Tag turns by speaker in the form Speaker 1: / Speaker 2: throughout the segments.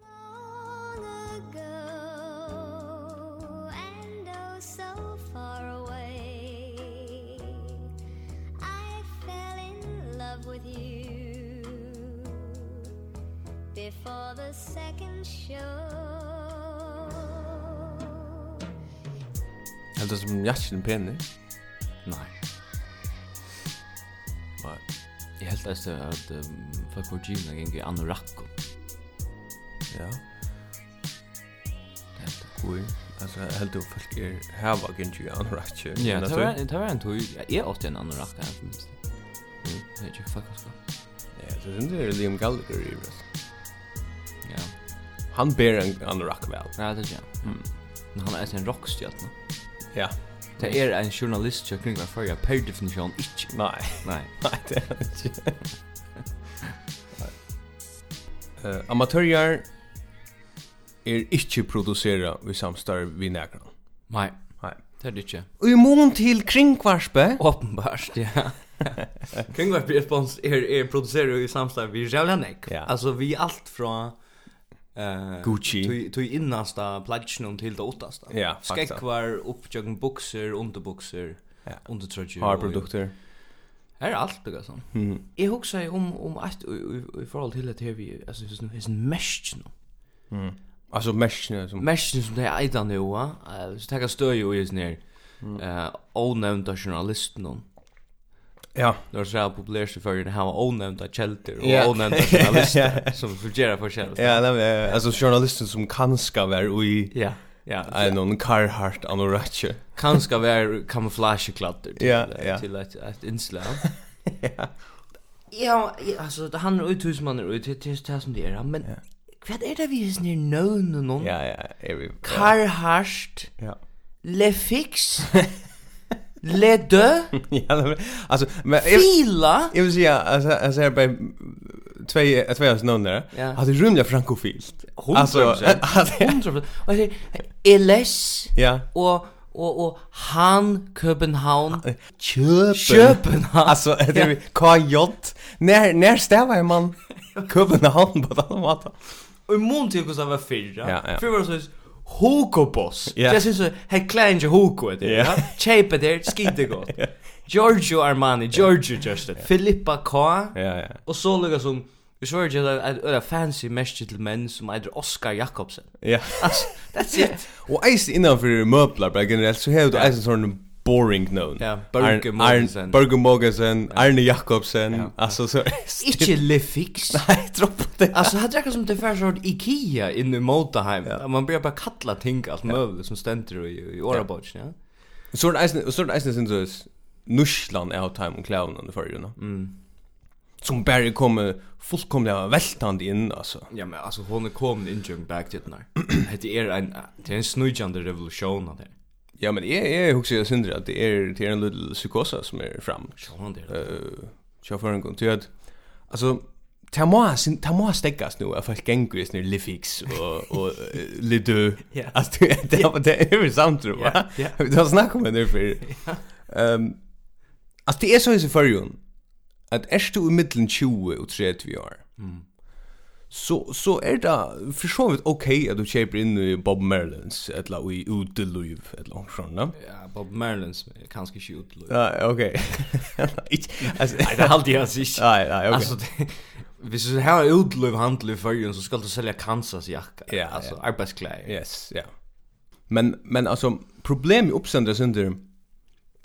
Speaker 1: oh, before the second show
Speaker 2: Heldur som er jakken pener.
Speaker 3: Nei. Nei. Jeg helt eiste at um, folk var givna gikk i anorakko.
Speaker 2: Ja.
Speaker 3: Det helt jeg.
Speaker 2: Oi. er Altså, heldur folk er hava gengi anorakje.
Speaker 3: Ja, det var, det var en tog. Ja, jeg åtte en anorakka, jeg minst. Det er ikke fucka skap.
Speaker 2: Ja, det synes jeg er Liam Gallagher i det.
Speaker 3: Ja.
Speaker 2: Han ber en anorak vel.
Speaker 3: Ja, det er ikke. Mm. Men han er eiste en rockstjøtna.
Speaker 2: Ja.
Speaker 3: Det er en journalist som kring hver fyrir per definisjon ikke.
Speaker 2: Nei,
Speaker 3: Nei.
Speaker 2: nei, det er han ikke. Uh, amatørjar er ikke producera i samstarv vi nekran.
Speaker 3: Nei.
Speaker 2: Nei.
Speaker 3: Det er det ikke.
Speaker 2: Og i mån til kringkvarspe.
Speaker 3: Åpenbart, ja. Kringvarp Respons er, er producerer i samstag vi er jævla nek.
Speaker 2: Ja.
Speaker 3: Altså vi allt fra eh
Speaker 2: Gucci.
Speaker 3: Tui, tui innasta pladsjnum til det åttasta.
Speaker 2: Ja, fakta.
Speaker 3: Skekvar, uppjögn bukser, underbukser,
Speaker 2: Ja.
Speaker 3: undertrøtjer.
Speaker 2: Har produkter.
Speaker 3: Her er alt, det sånn.
Speaker 2: Mhm.
Speaker 3: Jeg hugsa om, om at i, i, i forhold til at her vi, altså hos nu, hos mesh nu.
Speaker 2: Altså meshne som
Speaker 3: Meshen som det er eitan nu, eh, så takk støy jo i sin her, eh, onevnta journalisten om.
Speaker 2: Ja.
Speaker 3: Det var så här populärt för att ha onämnda källor och
Speaker 2: Ja.
Speaker 3: onämnda journalister som fungerar för själv.
Speaker 2: Ja, nei, men, eh, altså journalisten som kan ska vara i
Speaker 3: Ja. Ja.
Speaker 2: en någon Carhartt anorakje.
Speaker 3: Kan ska vara kamouflagekläder till,
Speaker 2: Ja, ja.
Speaker 3: till ett, ett inslag. ja. Ja, alltså det han er ut hus man ut det det det som det är, men vad är det vi er är nu någon någon?
Speaker 2: Ja, ja, er vi.
Speaker 3: Carhartt,
Speaker 2: Ja.
Speaker 3: Le Fix, Le Deux,
Speaker 2: Ja, nei, men, altså men jag
Speaker 3: Fila.
Speaker 2: jag vill säga alltså alltså är bara två två års någon där.
Speaker 3: Ja.
Speaker 2: Hade rymliga frankofilt.
Speaker 3: 100%.
Speaker 2: alltså,
Speaker 3: 100%. Och det är LS.
Speaker 2: ja.
Speaker 3: og og og han København
Speaker 2: Köpen.
Speaker 3: København
Speaker 2: Alltså det är KJ. När när stävar ju man Köpenhamn på den maten.
Speaker 3: og i mån til hvordan var fyrra
Speaker 2: Ja, ja.
Speaker 3: fyrra var det sånn Hugo boss
Speaker 2: Ja.
Speaker 3: det synes jeg her klær ikke Hugo er, etter
Speaker 2: Ja.
Speaker 3: ja kjøpe der skite godt er Giorgio Armani Giorgio Justin Filippa K
Speaker 2: Ja, ja.
Speaker 3: og så lukka som Jeg svarer ikke at det er fancy mest til menn som heter Oscar Jakobsen.
Speaker 2: Ja.
Speaker 3: Altså, that's it.
Speaker 2: Och eis innanför möbler bara generellt så har du eisen sån boring known.
Speaker 3: Ja, Børge Mogensen.
Speaker 2: Berge Mogensen, Arne Jakobsen, alltså så.
Speaker 3: Ikke Lefix.
Speaker 2: Nej, droppa det.
Speaker 3: Alltså hade jag som det för sort IKEA inne i Motaheim. Ja. Man börjar bara kalla ting allt möjligt som ständer i, i Orabots, ja.
Speaker 2: Så är eisen så er är eisen sin så Nushlan out time och clown under förr ju. Mm. Som Barry kommer fullkomliga vältande in alltså.
Speaker 3: Ja, men alltså hon är kommande injung back till den här. Det är en, er det är en snujande revolution av det.
Speaker 2: Ja, men jag jag husar jag syndra att det är det är en liten psykosa som är fram.
Speaker 3: Sjån det.
Speaker 2: Eh, jag får en gång till att alltså Tamoa sin Tamoa stäckas nu av folk gäng just nu Lifix och och Lidu.
Speaker 3: Ja.
Speaker 2: Alltså det det var det är väl sant tror
Speaker 3: Ja,
Speaker 2: jag.
Speaker 3: ja.
Speaker 2: Det har snack om det nu för. Ehm Alltså det är så i sig förrjun att är du i mitten 20 och 30 år. Mm. Så så är det för så vidt okej att du köper in i Bob Marlins eller i Udelöv eller något sånt. va?
Speaker 3: Ja, Bob Merlins kanske inte utlöj.
Speaker 2: Ja, okej. Inte- Alltså
Speaker 3: Nej, det er hade jag sist.
Speaker 2: Nej, nej, okej.
Speaker 3: Alltså, det, hvis du har utlöj handel i färgen så ska du sälja Kansas jacka.
Speaker 2: Ja,
Speaker 3: alltså, arbetskläder.
Speaker 2: Yes, ja. Men men alltså problem i uppsändare synder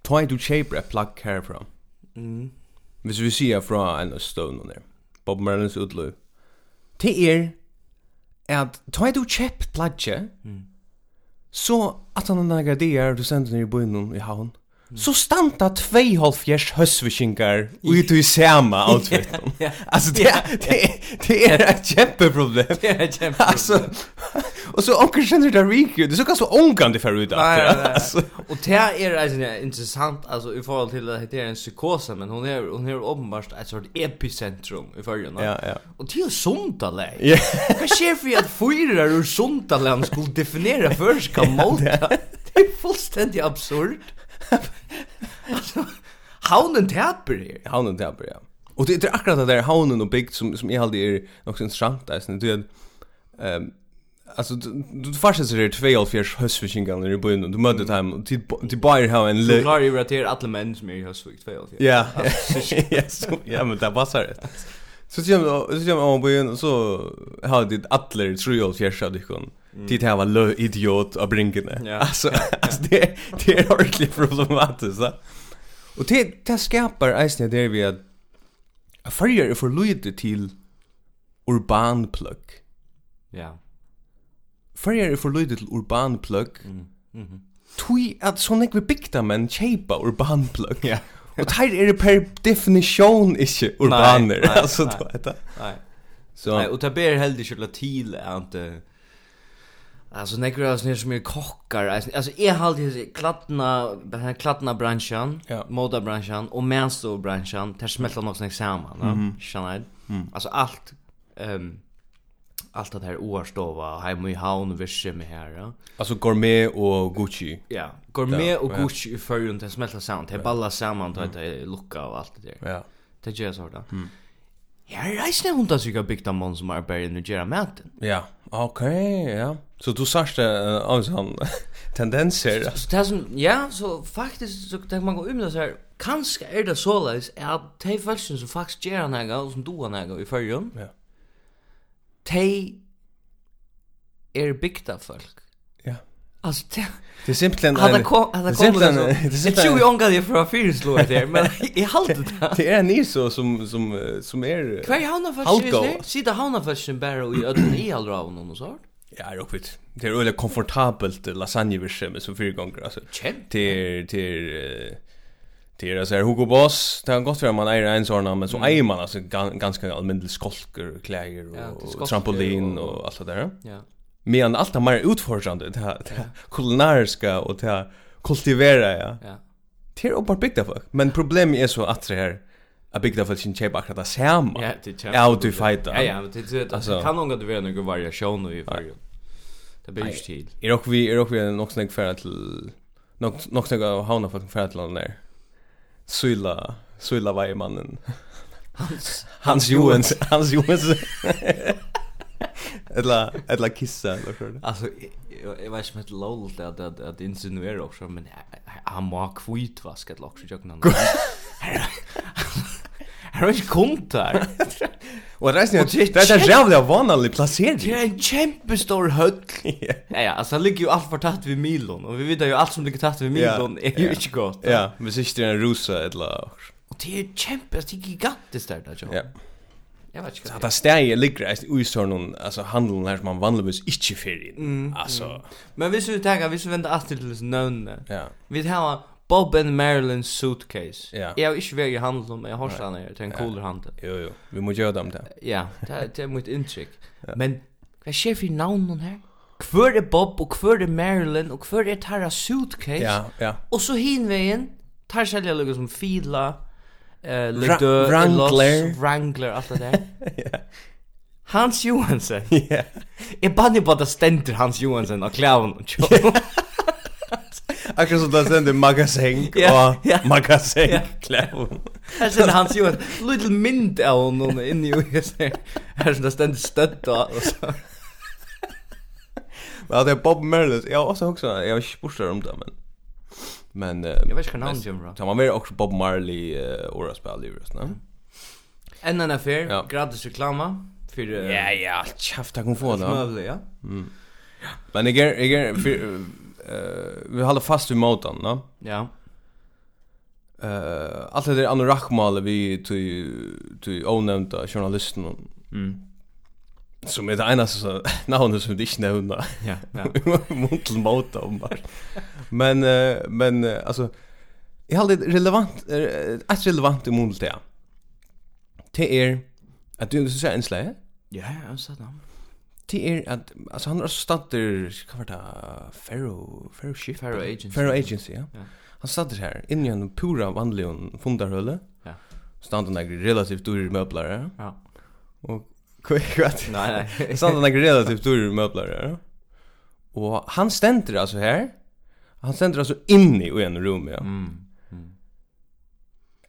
Speaker 2: try to shape a plug care from.
Speaker 3: Mm.
Speaker 2: Hvis vi ser fra en stone där. Bob Marlins utløy. Til er at try to shape plug Så at han några dagar du sender ner i byn i havn. Så stanta 2,5 høsviskingar ut i sama outfit. Alltså det er- det det er är ett jätteproblem.
Speaker 3: Det är jävligt.
Speaker 2: Alltså och så onkel känner det rik ju. Det så kan så onkan det förut
Speaker 3: Nej, nej, nej.
Speaker 2: alltså.
Speaker 3: Och det är alltså intressant alltså i förhåll till att det är en psykos men hon är hon är uppenbart ett sorts epicentrum i förhåll.
Speaker 2: Ja, ja.
Speaker 3: Och till Sundalä.
Speaker 2: Ja.
Speaker 3: Vad sker för att fyra ur Sundalä skulle definiera först kan måta. er? Det är fullständigt absurd. Alltså Haunen täpper här.
Speaker 2: Haunen där ja. Och det det är akkurat det där haunen och byggt som som är alltid är också intressant där sen det är, ehm alltså du du fastas det två och fjärs höstfishingar när du börjar du möter dem och till till buyer how en
Speaker 3: Du
Speaker 2: look.
Speaker 3: klarar er ju att det är alla män som är i höstsvikt fel.
Speaker 2: Ja. Ja, så- ja, men det passar rätt. Så kommer så kommer om byen och så har det alla tre år fjärsa dykon. Tid här var lö idiot av brinkene.
Speaker 3: Ja.
Speaker 2: Alltså, alltså det det är ordentligt problematiskt. va? Och det det skapar eisne där vi att a färger är för lite till urban plugg.
Speaker 3: Ja.
Speaker 2: Färger är för lite till er urban plugg.
Speaker 3: Mm. Mhm.
Speaker 2: Tui at så nekve bygda menn kjeipa urban plugg. Ja. Og teir er per definisjon ikke urbaner.
Speaker 3: nei,
Speaker 2: altså,
Speaker 3: nei.
Speaker 2: du vet det.
Speaker 3: Nej.
Speaker 2: Så,
Speaker 3: Nej, och det ber heller inte la till att eh, Alltså när jag snär som är kockar alltså alltså är halt det klattna den här klattna branschen,
Speaker 2: Ja.
Speaker 3: moda branschen och menstå branschen där smälter nog snäck samman, va?
Speaker 2: Mhm.
Speaker 3: Mm -hmm. Alltså allt ehm allt det här oarstova, hem i havn, visse med här, ja.
Speaker 2: altså gourmet og Gucci.
Speaker 3: Ja, gourmet
Speaker 2: Ja,
Speaker 3: och
Speaker 2: ja.
Speaker 3: Gucci i förrun det smälter samman, det ballar samman, det är lucka och allt det där.
Speaker 2: Ja. Mhm.
Speaker 3: Det gör så där. Mm. Ja, er det är inte hundar som jag byggt av mån som är bärgen och gör maten.
Speaker 2: Ja, ok, ja. Så du sørst det uh, av sånn tendenser.
Speaker 3: Så det som, ja, så faktisk, så tenker man gå um det så her, kanskje er det såleis at de følelsen som faktisk gjør nega, og som doer nega i fyrrjum,
Speaker 2: Ja.
Speaker 3: de er bygda folk.
Speaker 2: Ja.
Speaker 3: Altså, det,
Speaker 2: Det er simpelthen...
Speaker 3: hadde
Speaker 2: en-
Speaker 3: kom, hadde
Speaker 2: det er
Speaker 3: kom det
Speaker 2: simpelthen-
Speaker 3: så,
Speaker 2: det er
Speaker 3: jeg tror
Speaker 2: simpelthen-
Speaker 3: jo ångan jeg fra fyrinslå det her, men jeg halte det.
Speaker 2: Det er en iso som, som, eh, som er...
Speaker 3: Hver havnafelsen
Speaker 2: Halko.
Speaker 3: er det? Sida havnafelsen bare i ødelen i halder av noen og sånt.
Speaker 2: Ja, det er okvitt. Det er veldig komfortabelt lasagnevirse med som fire ganger, altså.
Speaker 3: Kjent.
Speaker 2: Det er... Det er... eh, Det er altså her Hugo Boss, det kan godt være man eier en sånn, men
Speaker 3: Mm.
Speaker 2: så eier man altså gan- ganske alminnelig skolker, klæger og,
Speaker 3: Ja, det er
Speaker 2: og
Speaker 3: skolker
Speaker 2: trampolin
Speaker 3: og-
Speaker 2: og alt det der. Ja.
Speaker 3: Ja.
Speaker 2: Men allt det mer utforskande, det här, det här kulinariska och det här kultivera, ja.
Speaker 3: Ja.
Speaker 2: Det är uppenbart bygda folk. Men problemet är så att det här att bygda folk sin tjej bara akkurat det samma.
Speaker 3: Ja, det är tjej.
Speaker 2: Ja, och du fightar.
Speaker 3: Ja, ja, men det det
Speaker 2: Alltså-
Speaker 3: alltså kan någon att vara någon variation i varje. Det blir ju tid.
Speaker 2: Är och Er vi är och vi är nog snägg färra till nog nog snägg av havna folk färra till den där. Suilla Suilla var mannen.
Speaker 3: Hans
Speaker 2: Hans Johans, Hans Johans. Eller eller kissa eller så.
Speaker 3: alltså jag jag vet inte lol det att att att insinuera också men han må kvitt vaska ett lock så jag kan. Här är kontar.
Speaker 2: Och det är
Speaker 3: Och det är
Speaker 2: snägg. Det är jävla vanlig placering.
Speaker 3: Det är en jättestor höll.
Speaker 2: Ja.
Speaker 3: Ja, ja, alltså det ligger ju allt för tätt vid Milon och vi vet ju allt som ligger tätt vid
Speaker 2: Ja,
Speaker 3: Milon är ju
Speaker 2: ja.
Speaker 3: inte gott.
Speaker 2: Ja, men så är det en rosa eller
Speaker 3: Och det är ju jätte, det är gigantiskt där där.
Speaker 2: Ja.
Speaker 3: Ja. Jag vet inte.
Speaker 2: Att det stäger ligger är i sån alltså handeln här som man vanligtvis inte för in. Alltså
Speaker 3: Men hvis vi tenker, hvis vi venter alltid til disse nøvnene,
Speaker 2: ja.
Speaker 3: vi har Bob and Marilyn's suitcase.
Speaker 2: Ja.
Speaker 3: Jeg har ikke vært i handel om, jeg har ikke annet, det er en coolere handel.
Speaker 2: Jo jo, vi måste göra dem det.
Speaker 3: Ja, det er, det er mitt inntrykk. Men, hva skjer for navnen her? Hvor er Bob, og hvor er Marilyn, og hvor er Tara suitcase?
Speaker 2: Ja, ja.
Speaker 3: Og så hinveien, tar selja lukka som fila, eh,
Speaker 2: Ra-
Speaker 3: Lidø,
Speaker 2: Wrangler.
Speaker 3: Elos, Wrangler, alt det der.
Speaker 2: Ja.
Speaker 3: Hans Johansen. Er
Speaker 2: Ja.
Speaker 3: Jeg banner på at det stender Hans Johansen av klæven og tjå.
Speaker 2: Akkurat så där ständer magasin
Speaker 3: Ja, ja.
Speaker 2: och magasin kläder.
Speaker 3: Här sen han ju en little mint av honom inne i USA. Här sen ständigt stött och så.
Speaker 2: Ja, det är Bob Merlis. Jag har också också jag har spurt om det men men eh,
Speaker 3: Jag vet inte namn Jim bra.
Speaker 2: Tar man med också Bob Marley eh, och spel i rösten. va?
Speaker 3: En annan affär,
Speaker 2: Ja.
Speaker 3: gratis reklama eh, för
Speaker 2: Ja, ja, tjafta kom få då.
Speaker 3: Smövle, ja.
Speaker 2: Men jag är- jag är- för, eh vi håller fast vid motorn, va?
Speaker 3: Ja.
Speaker 2: Eh allt det där anorakmålet vi till till onämnda journalisten
Speaker 3: Mm.
Speaker 2: som är det ena så namnet som det inte nämner.
Speaker 3: Ja, ja.
Speaker 2: Muntel mota om bara. Men eh, men eh, alltså jag hade relevant eh, ett relevant i muntel det. Det är er- att du ska säga en släge.
Speaker 3: Ja, ja, så då.
Speaker 2: Det är att alltså han har stått där vad var det Ferro Ferro Ship
Speaker 3: Faro agent.
Speaker 2: Ferro Agency, ja.
Speaker 3: Ja.
Speaker 2: Han satt her, inni en pura vanlig og fundarhølle.
Speaker 3: Ja.
Speaker 2: Stand han ikke relativt dyr møbler, ja.
Speaker 3: Ja.
Speaker 2: Og hva er det?
Speaker 3: Nej, nej.
Speaker 2: Stand han ikke relativt dyr møbler, ja. Og han stender altså her, han stender altså inni i en rum, ja.
Speaker 3: Mm.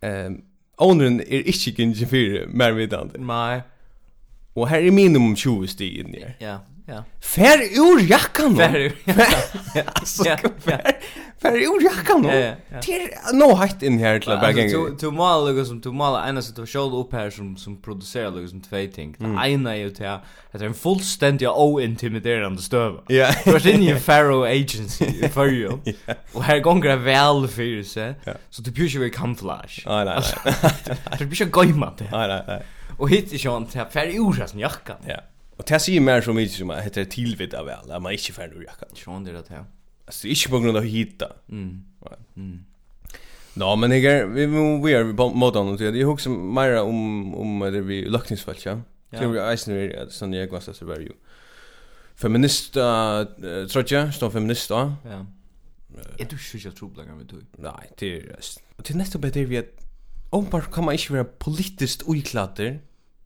Speaker 2: Mm. Åneren er ikke gynnsig fyrir mer vidande.
Speaker 3: Nej.
Speaker 2: Og her er minimum 20 sti inni her.
Speaker 3: Ja, ja.
Speaker 2: Fær ur jakkan!
Speaker 3: Fær ur-
Speaker 2: jakkan! Altså,
Speaker 3: Ja, ja.
Speaker 2: fær, Fer ur jakkan nu.
Speaker 3: Ja, ja, ja.
Speaker 2: Till no heitt in här till
Speaker 3: Alltså,
Speaker 2: backen.
Speaker 3: to- to måla lukka som to måla ena situation upp här som som producerar lukka som två ting. Det ena är ju till att det är en fullständig ointimiderande stöva.
Speaker 2: Ja.
Speaker 3: Du har inne i en Faro agency i Färjö. Och här gånger är väl för sig. Så du bjuder ju i camouflage.
Speaker 2: Nej nej. nej.
Speaker 3: Du bjuder ju gojma det.
Speaker 2: Nej nej nej.
Speaker 3: Och hit är sånt här färg ur sin jacka.
Speaker 2: Ja. Och det säger mer som vi som heter tillvitt av väl. att Man inte fer ur jakkan.
Speaker 3: Sån det där.
Speaker 2: Alltså inte på grund av hitta.
Speaker 3: er Mm.
Speaker 2: Ja, men er- jag är, vi vi är på modan och det är också mer om om det vi luckningsfall, er ja.
Speaker 3: Ja.
Speaker 2: Det är ju snarare att sån jag måste vara ju. Feminist eh trotja, står feminist då.
Speaker 3: Ja. Er Är du sjukt trubbel med du?
Speaker 2: Nej, det är just. Och till nästa bättre vi att om bara kan man inte vara politiskt oiklatter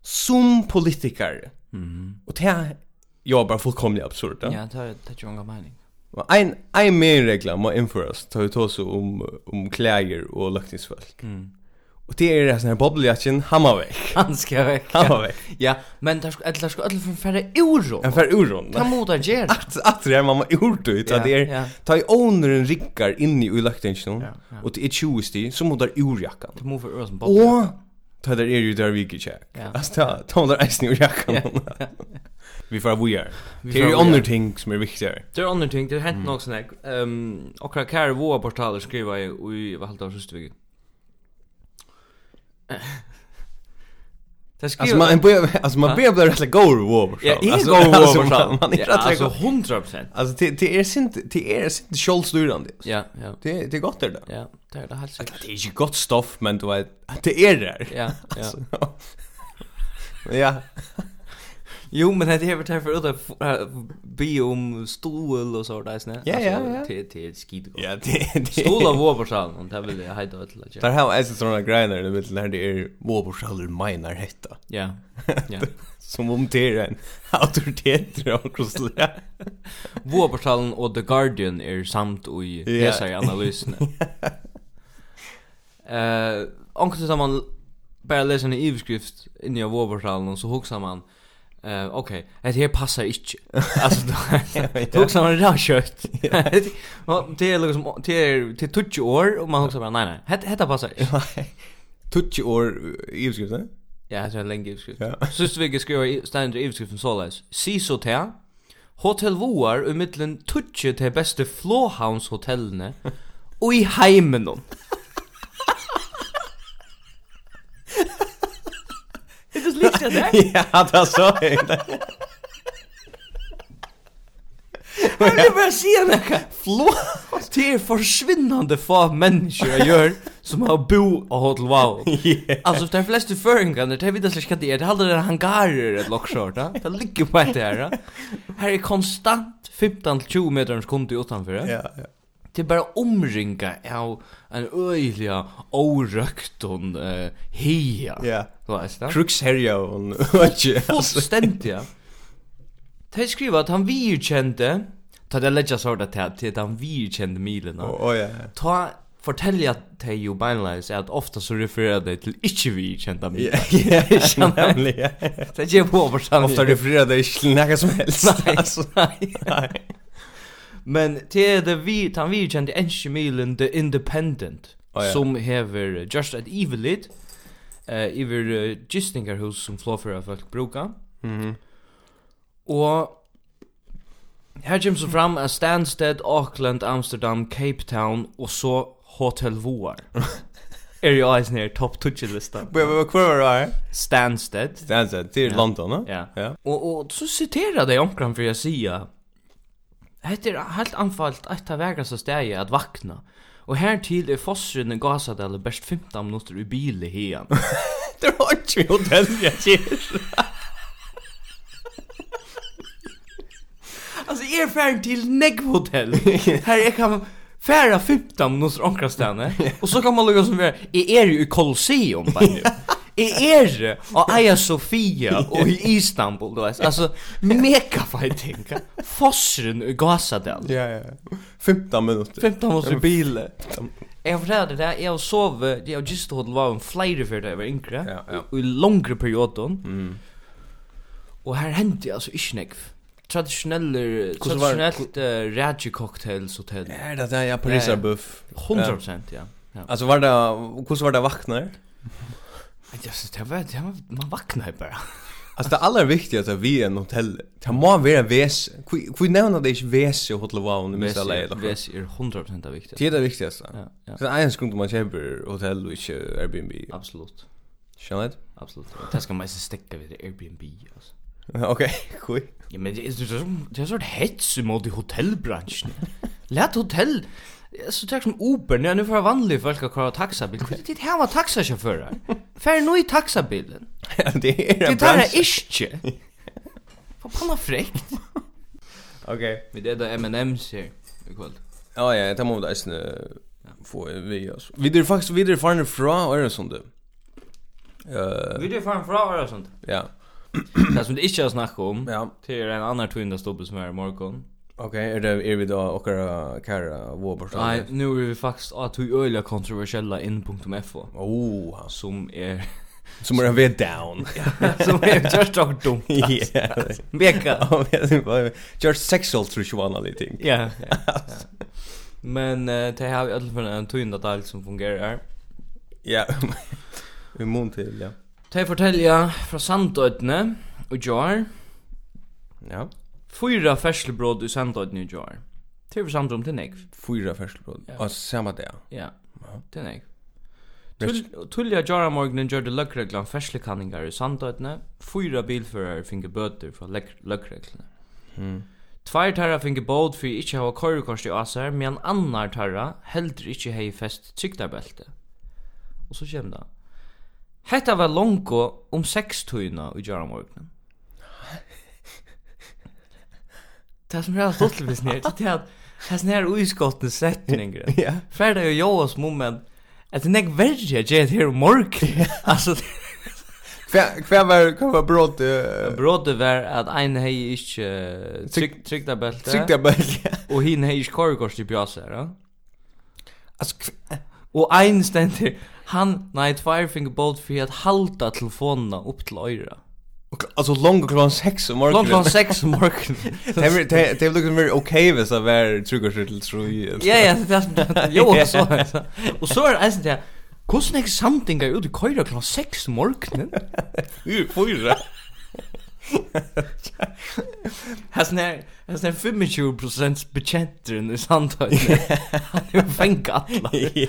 Speaker 2: som politiker.
Speaker 3: Mhm.
Speaker 2: Och det är jag bara fullkomligt absurd. Ja.
Speaker 3: Ja, er- tar tar ju en mening.
Speaker 2: Men Ein ein mer regla må införas. Ta ut oss om om kläder och luckningsfolk.
Speaker 3: Mm.
Speaker 2: Och det är det här sån här bubblejacken hammarväck.
Speaker 3: Han ska väcka.
Speaker 2: Hammarväck.
Speaker 3: Ja, men där ska alla ska alla från färre euro.
Speaker 2: En för uron.
Speaker 3: Ta mot att göra.
Speaker 2: Att att det är mamma urt ut att det
Speaker 3: Ja, ja.
Speaker 2: är ta i åneren rikkar in i luckningsfolk.
Speaker 3: Ja, ja.
Speaker 2: Och det är tjusti som mot där urjackan.
Speaker 3: Ta mot för euro som bob.
Speaker 2: Og ta der er jo der vi ikke
Speaker 3: Ja.
Speaker 2: Altså, ta, ta der eisen jo jakkan. Vi får vi er. Det er
Speaker 3: får
Speaker 2: jo
Speaker 3: vi er.
Speaker 2: andre ting som er viktigere.
Speaker 3: Det är andra ting, det har hänt något sånt här. Ehm, och kvar kär våra portaler skriva i i vad halta sist veckan. Det skriver
Speaker 2: Altså, man bør, altså, man bør bli rettelig god over.
Speaker 3: Ja,
Speaker 2: jeg
Speaker 3: är går
Speaker 2: Altså,
Speaker 3: våra
Speaker 2: man-
Speaker 3: portaler.
Speaker 2: man er
Speaker 3: Ja,
Speaker 2: rettelig
Speaker 3: alltså
Speaker 2: god.
Speaker 3: 100%.
Speaker 2: Altså, det det er sint, det er sint kjoldstyrande.
Speaker 3: Ja, ja.
Speaker 2: Det det er godt det da.
Speaker 3: Ja, det är det helt
Speaker 2: Altså,
Speaker 3: säkert.
Speaker 2: Det er ikke godt stoff, men du vet, det er der.
Speaker 3: Ja, ja.
Speaker 2: Ja,
Speaker 3: Jo, men det är väl därför att be om stol och så där snä.
Speaker 2: Ja, ja, ja.
Speaker 3: Till till skit.
Speaker 2: ja, det det.
Speaker 3: Stol av våra portaler, om det vill jag hejda till att
Speaker 2: Der
Speaker 3: göra.
Speaker 2: har jeg sånne greiner, det vet, når det er våborsaler meiner hetta.
Speaker 3: Ja. Ja.
Speaker 2: Som om det er en autoritet av krossle.
Speaker 3: Vårportalen og The Guardian er samt i
Speaker 2: Ja.
Speaker 3: hesa i analysene. Eh, onkel som man bara läser en överskrift inne i vårportalen och så huxar man eh okej, det här passar inte. Alltså då huxar man det där kött. Och det är liksom det är till 20 år och man huxar bara nej nej, det det passar inte.
Speaker 2: Tutsi år i eh? beskriften.
Speaker 3: Ja, det är en längre överskrift.
Speaker 2: Ja.
Speaker 3: Sist vecka skrev jag ständer överskriften så läs. Siso te. Hotel um Voar i mittlen tutje te beste Flåhavns hotellene og i heimen om. Det är likt det där.
Speaker 2: Ja, det sa jeg.
Speaker 3: Jag vill bara säga något. Flå. Det är försvinnande få människor jag gör som har bo av Hotel Wow. Alltså de flesta föringarna, det vet jag inte vad det är. Det handlar om hangarer ett lockshort. ja. Det ligger på ett här. ja. Här är konstant 15-20 meters konto utanför. Ja.
Speaker 2: Ja, ja.
Speaker 3: Det är bara omringa av en öjliga orökton uh, hia.
Speaker 2: Ja.
Speaker 3: Vad är det?
Speaker 2: Crux herja og ikke.
Speaker 3: Fullständiga. Det skriver att han virkände, ta det lägga sådär till, till att han virkände milerna.
Speaker 2: Å ja.
Speaker 3: Ta fortälja till ju beinleis att er ofta så refererar det till icke virkända miler.
Speaker 2: Ja, ikke nemlig. ja.
Speaker 3: Det ger på översatt.
Speaker 2: Ofta refererar det ikke til noe som helst.
Speaker 3: Nei.
Speaker 2: altså. Nei.
Speaker 3: Men till det vi, han virkände icke milen The Independent.
Speaker 2: Å, ja.
Speaker 3: Som hever Just at Evil It. Uh, Iver uh, gistingarhus som flåföra folk brukar.
Speaker 2: Mhm.
Speaker 3: Og her kommer så fram at Stansted, Auckland, Amsterdam, Cape Town og så Hotel Voar. er jo eisen her topp 20-lista.
Speaker 2: Men men, hvor var det her?
Speaker 3: Stansted.
Speaker 2: Det er altså, det er
Speaker 3: Ja.
Speaker 2: London, da?
Speaker 3: Ja.
Speaker 2: Ja.
Speaker 3: Og, og så siterer det omkring for jeg sier Hette er helt anfallt et av vegaste stegi at vakna. Og her til er fossren i Gazadelle best 15 minutter i bil i hian.
Speaker 2: Det var ikke hotell, jeg sier.
Speaker 3: Altså, jeg er ferdig til Negvhotell. Her jeg kan færa 15 minutter omkring stedene, og så kan man lukke som være, jeg er jo i Colosseum, bare nu. Jeg er det, og Aya Sofia, og i Istanbul, du vet. Altså, mega fighting. Fosseren i Gazadel.
Speaker 2: Ja, ja. 15 minutter.
Speaker 3: 15 minutter i bil. Jeg forteller det der, jeg har sovet, jeg har just holdt var um en flere før da jeg var yngre,
Speaker 2: Ja, ja. Mm.
Speaker 3: og i langere perioden. Og her hendte jeg altså ikke nekv. traditionella
Speaker 2: Hvordan var-
Speaker 3: traditionellt uh, rage cocktails hotell.
Speaker 2: Er det det, ja, Pariser buff.
Speaker 3: 100% ja. Ja.
Speaker 2: Alltså var det, hur var det vaknar?
Speaker 3: Alltså det var det var man vaknar bara.
Speaker 2: Alltså det allra viktigaste är vi är en hotell. Det må vara väs. Vi nämner det inte väs i hotell var under mesta läget.
Speaker 3: Ves är 100% er av viktigt.
Speaker 2: Det är det viktigaste.
Speaker 3: Ja, ja.
Speaker 2: Det är en skund man köper hotell och inte Airbnb.
Speaker 3: Absolut.
Speaker 2: Känner du?
Speaker 3: Absolut. Det ska man inte stäcka vid Airbnb alltså.
Speaker 2: Okej, cool.
Speaker 3: Ja, men det är så det är så hets mot i hotellbranschen. Lät hotell Så tack som Uber, er- nu nu för vanlig folk att köra taxabil. Det här var taxachaufförer. Fär nu i taxabilen.
Speaker 2: Det är en
Speaker 3: Det tar
Speaker 2: bransch.
Speaker 3: jag inte. Vad fan är fräckt?
Speaker 2: Okej.
Speaker 3: Vi det där M&M's här ikväll.
Speaker 2: Ja, ja, det må vi eisne få vi alltså. Vi är faktiskt vidare farne fra Öresund. Eh,
Speaker 3: Vi det fan fra och sånt.
Speaker 2: ja.
Speaker 3: Det som det inte har snackat om.
Speaker 2: Ja.
Speaker 3: Det är en annan tvinda stopp som är i morgon.
Speaker 2: Okej, är det är vi då och kära Wobberstad?
Speaker 3: Nej, nu är vi er faktiskt att vi öliga kontroversiella in.fo
Speaker 2: Oh,
Speaker 3: som är
Speaker 2: som är vi down.
Speaker 3: som är just dock dumt.
Speaker 2: Ja.
Speaker 3: Mega.
Speaker 2: Ja, men det var- George Sexual tror jag var en annan ting.
Speaker 3: Ja. Men eh, det har vi alla för en tvinda del som fungerar.
Speaker 2: Ja. Vi mun till, ja.
Speaker 3: Det fortäljer från Sandödne och Jar.
Speaker 2: Ja.
Speaker 3: Fyra färslebröd i Sandödne och Jar. Det är för samt om till Nekv.
Speaker 2: Fyra färslebröd.
Speaker 3: Ja.
Speaker 2: Ja, samma dag.
Speaker 3: Ja.
Speaker 2: Ja.
Speaker 3: Det er nek.
Speaker 2: Vest-
Speaker 3: Tull- Tullja Jaramorgnen gjør det løkreglan ferslekanningar i sandøytene. Fyra bilfører finge bøter fra løkreglene.
Speaker 2: Mm.
Speaker 3: Tvær tarra finge båd for ikkje hava korrekors i asar, men annar tarra heldur ikkje hei fest tryggtarbelte. Og så kjem det. Hetta var um longo om seks tøyna i Jaramorgnen. Det som er helt stortligvis nere, det er at hans nere uiskottne setninger.
Speaker 2: Ja.
Speaker 3: Färda och Joas moment att den är värre att jag här morgon. um Alltså
Speaker 2: Kvar kvar var kvar var brott. eh,
Speaker 3: brådet var att en hej inte tryck tryckta bälte
Speaker 2: Tryckte jag bara.
Speaker 3: och hin hej inte korgors till pjasa då.
Speaker 2: Alltså, kv-
Speaker 3: Och en ständer han nej tvär finger bolt för att halta telefonerna upp till öra.
Speaker 2: och- alltså långt klockan sex om morgonen.
Speaker 3: Långt från sex um om morgonen.
Speaker 2: Det är- Det är- det är liksom mer okej hvis det var tryggare till tro.
Speaker 3: Ja ja, det är jo så. Och så är det alltså det Hvordan er samtinga ute i køyra klant 6 om morgenen?
Speaker 2: Fyra.
Speaker 3: Hasen er, hasen er 25% betjenteren i Sandhøyne. Han er jo fengt alle.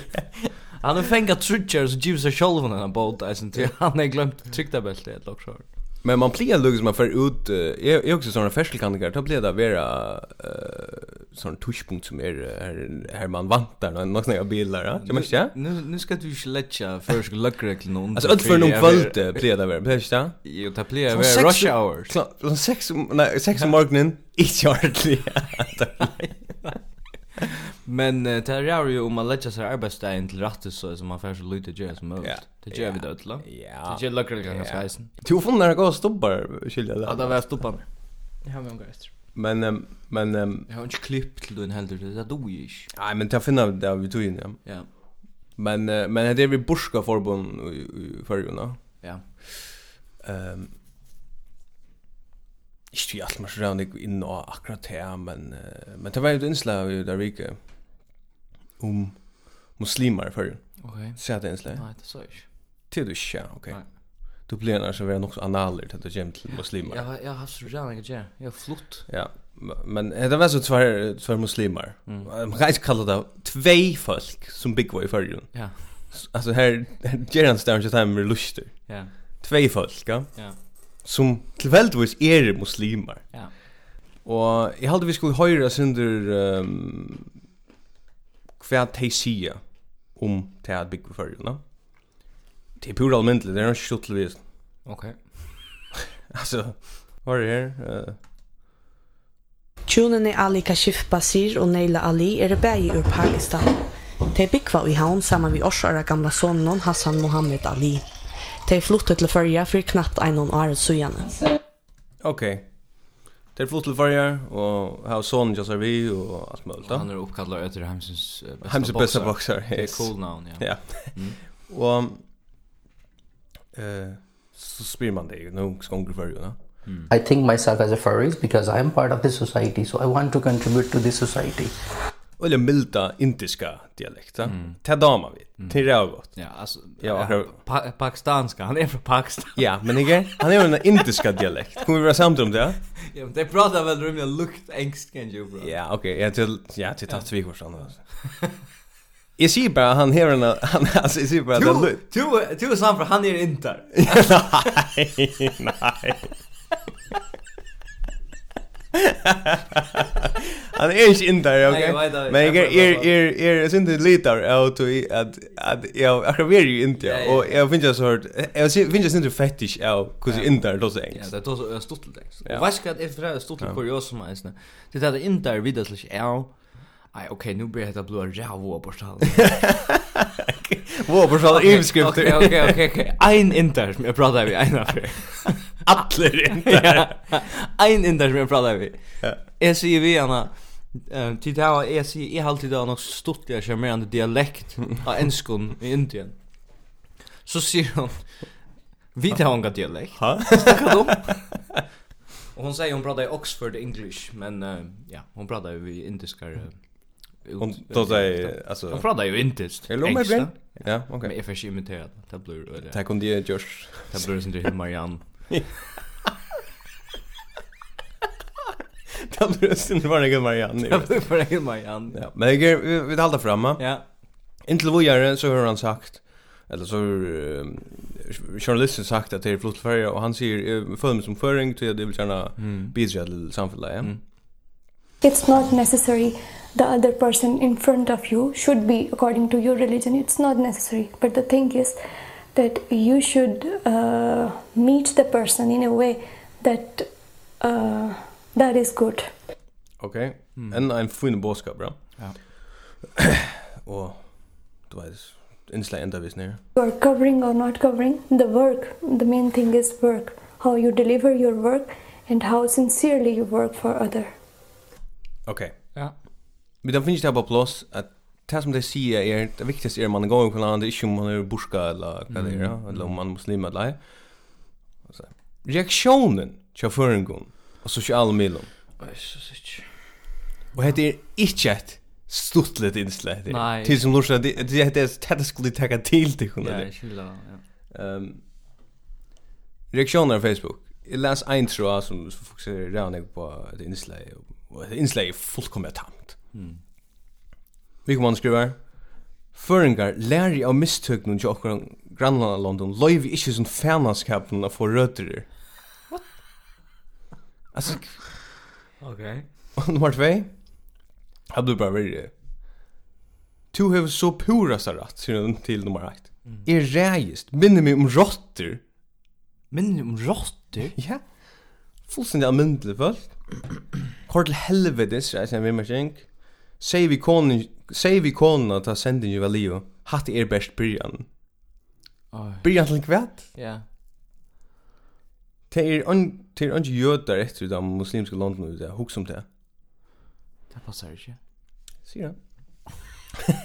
Speaker 3: Han er fengt trutjer som giver seg sjolv henne båt, eisen til han er glemt tryktabeltet et lokk sjår.
Speaker 2: Men man plejer lugg som man för ut eh, jag jag också såna färskelkandigar då blir det vara eh sån touchpunkt som är eh, här här man vantar när någon snäga bilar ja. Det måste jag.
Speaker 3: Nu, nu skal du ikke letja først løkreklen noen.
Speaker 2: Alltså allt för någon kvällte plejer det vara. Plejer det?
Speaker 3: Jo, det blir
Speaker 2: Sånn
Speaker 3: ved
Speaker 2: seks-
Speaker 3: rush hours.
Speaker 2: Klart, sån sex om- nej sex om morgonen inte ordentligt.
Speaker 3: Men eh, det er jo om man letja seg arbeidsdagen til rattet så som man først lytter gjør som
Speaker 2: Ja.
Speaker 3: mulig. Det gjør vi
Speaker 2: Ja.
Speaker 3: det utla.
Speaker 2: Ja.
Speaker 3: Det gjør løkreklen ganske eisen.
Speaker 2: Du får när gå stoppar skilja
Speaker 3: Ja, det
Speaker 2: det.
Speaker 3: var jeg stoppa med. Jeg har med omgang etter.
Speaker 2: Men ehm, men ehm,
Speaker 3: Jeg har ikke klipp til den heldur, det er du ikke.
Speaker 2: nej men jag finner det vi tog in ja.
Speaker 3: Ja.
Speaker 2: Men eh, men det är vi borska förbund förrjuna.
Speaker 3: Ja.
Speaker 2: Ehm Ich vi allt mars round in og akkurat her, men eh, men det var ju inslag i der vike om muslimar för
Speaker 3: Okej.
Speaker 2: så det inslag.
Speaker 3: Nej, det sa jag inte.
Speaker 2: Till du sjá, okej.
Speaker 3: Nej.
Speaker 2: Du blir annars så vara nog analer till att jämt till muslimar.
Speaker 3: Jag har jag har haft så jävla mycket gär. Jag har er flott.
Speaker 2: Ja. Men eh, det var så två två muslimar.
Speaker 3: Mm.
Speaker 2: Man kan inte kalla det två folk som big way för
Speaker 3: Ja.
Speaker 2: Alltså här Gerard Stone just hem med lustig.
Speaker 3: Ja.
Speaker 2: Två folk, ja,
Speaker 3: Ja.
Speaker 2: som tillfälligtvis är muslimar.
Speaker 3: Ja.
Speaker 2: Og jeg halde vi skulle høyra sindur um, hva de sier om det at bygge førjuna. Det er pura almindelig, det er ikke stått til vis.
Speaker 3: Okej.
Speaker 2: Altså, hva er det her? Uh,
Speaker 4: Tjonene Ali Kashif Basir og Neila Ali er begge ur Pakistan. De byggva i havn sammen med årsara gamla sonen Hassan Mohammed Ali. De flyttet til førja for knapt en og året søgjene.
Speaker 2: ok. Det er flott til farger, og her er sonen jeg ser vi, og alt mulig. da.
Speaker 3: Han er är uppkallad efter Hemsens eh, bästa
Speaker 2: Heimse beste boxer.
Speaker 3: Det
Speaker 2: yes.
Speaker 3: är cool noun, ja. Mm.
Speaker 2: Ja. Og eh så spyr man det jo, nå skal hun gå førjuna.
Speaker 5: I think myself as a furries because I am part of this society, so I want to contribute to this society.
Speaker 2: Eller milda indiska dialekta.
Speaker 3: Mm.
Speaker 2: Ta dama vi. Det är gott.
Speaker 3: Ja, alltså
Speaker 2: Ja,
Speaker 3: ja,
Speaker 2: akkurat.
Speaker 3: pa pakistanska. Han är från Pakistan.
Speaker 2: Ja, men ikke? Han er jo en indiska dialekt. Kommer vi være samt om det?
Speaker 3: Ja, men det pratar väl rimligt lukt ängst kan ju bra.
Speaker 2: Ja, ok. Ja, til, ja, til tatt vi går sånn. altså. Jeg sier bare, han hever en... Han, altså, jeg sier bare...
Speaker 3: Du,
Speaker 2: det er lu-
Speaker 3: du, du är sant för han er är inte där.
Speaker 2: Nei, nei. Han er ikke indar,
Speaker 3: Nei,
Speaker 2: ok?
Speaker 3: jeg vet det.
Speaker 2: Men jeg er,
Speaker 3: Jeg prøver
Speaker 2: er,
Speaker 3: bare.
Speaker 2: er, er, er sindi litar av tui at, at jeg akkurat vi er jo i India,
Speaker 3: Ja, ja.
Speaker 2: og jeg finnes jeg så hørt, jeg sy- finnes jeg sindi fetish av hvordan er, indar lås
Speaker 3: Ja,
Speaker 2: engst.
Speaker 3: det er tar så stort till text.
Speaker 2: Ja.
Speaker 3: Och vad ska det för stort till kuriosum ens? Det där inte där vidare slash är. Aj, okej, nu blir det att blåa ravo på stan.
Speaker 2: Wow, for sånn
Speaker 3: Okej,
Speaker 2: iveskrifter.
Speaker 3: okej, okej, okej. Ein inter som jag pratar vi en affär.
Speaker 2: Atler indar.
Speaker 3: Ja. Ein inter som jag pratar vi.
Speaker 2: Ja.
Speaker 3: Jag ser vi Anna. Ehm tid där jag ser jag alltid där något stort jag kör med en dialekt av enskon i Indien. Så ser hon Vi tar hon dialekt.
Speaker 2: Ha?
Speaker 3: Snackar om. Och um? hon säger hon pratar i Oxford English, men eh, ja, hon pratar ju i indiska. eh, ut-
Speaker 2: Hon då säger,
Speaker 3: Hon
Speaker 2: alltså...
Speaker 3: pratar ju indiskt. eh.
Speaker 2: Hello my
Speaker 3: engelskt,
Speaker 2: friend. Ja, ok.
Speaker 3: Men jag försöker imitera det. Det blir det.
Speaker 2: Tack om det, Josh.
Speaker 3: Det blir inte helt Marianne.
Speaker 2: Det er blir sin varje Marianne.
Speaker 3: Det blir för helt Marianne.
Speaker 2: Ja, men jag vi vi håller framme.
Speaker 3: Ja.
Speaker 2: Intil vågare så har han sagt eller så har ehm, journalisten sagt att det är flott färja och han säger följ mig som föring till att jag vill gärna bidra till samfunnet. Ja.
Speaker 6: It's not necessary the other person in front of you should be according to your religion. It's not necessary. But the thing is that you should uh, meet the person in a way that uh, that is good.
Speaker 2: Okej. En en fin boskap, bra.
Speaker 3: Ja.
Speaker 2: och du vet inslag ända vis ner.
Speaker 6: You are covering or not covering the work. The main thing is work. How you deliver your work and how sincerely you work for other.
Speaker 2: Okej.
Speaker 3: Ja.
Speaker 2: Men det finns det här på plats att det som det säger är det viktigaste är att man går på land det är inte om man är burska eller vad det är
Speaker 3: Mm.
Speaker 2: ja, eller om man är muslim eller ej. Så. Reaktionen till föringen och sociala medier.
Speaker 3: Oj, så sick.
Speaker 2: Och det är inte ett stuttligt inslag det.
Speaker 3: Nej.
Speaker 2: Till som Lorsa det det det det skulle ta till det kunde.
Speaker 3: Ja,
Speaker 2: er det.
Speaker 3: jag gillar. Ja.
Speaker 2: Ehm reaktioner på Facebook. Jag läs en tråd som fokuserar redan på ett inslag och ett inslag är fullkomligt er tamt. Mm. Vi kommer att skriva Føringar læri av mistöknum til okkur grannlandalondum loivi ikkje som fanaskapnum að få rødder. Altså,
Speaker 3: Okej.
Speaker 2: Og nummer 2. Har du bara varit Du har så pura så rätt sier hun till nummer 1. Är räjist minne mig um om råttor.
Speaker 3: Men om råttor?
Speaker 2: Ja. Fullständigt allmäntligt väl. Kort till helvetes jag sen vill man tänk. Säg vi kon säg vi kon att ta senden ju väl Leo. Hatt er bäst början.
Speaker 3: Oj.
Speaker 2: Början till kvätt.
Speaker 3: Ja.
Speaker 2: Det är on till on jötar efter de muslimska länderna ute. Hooks om det.
Speaker 3: Det passar inte.
Speaker 2: Ser han.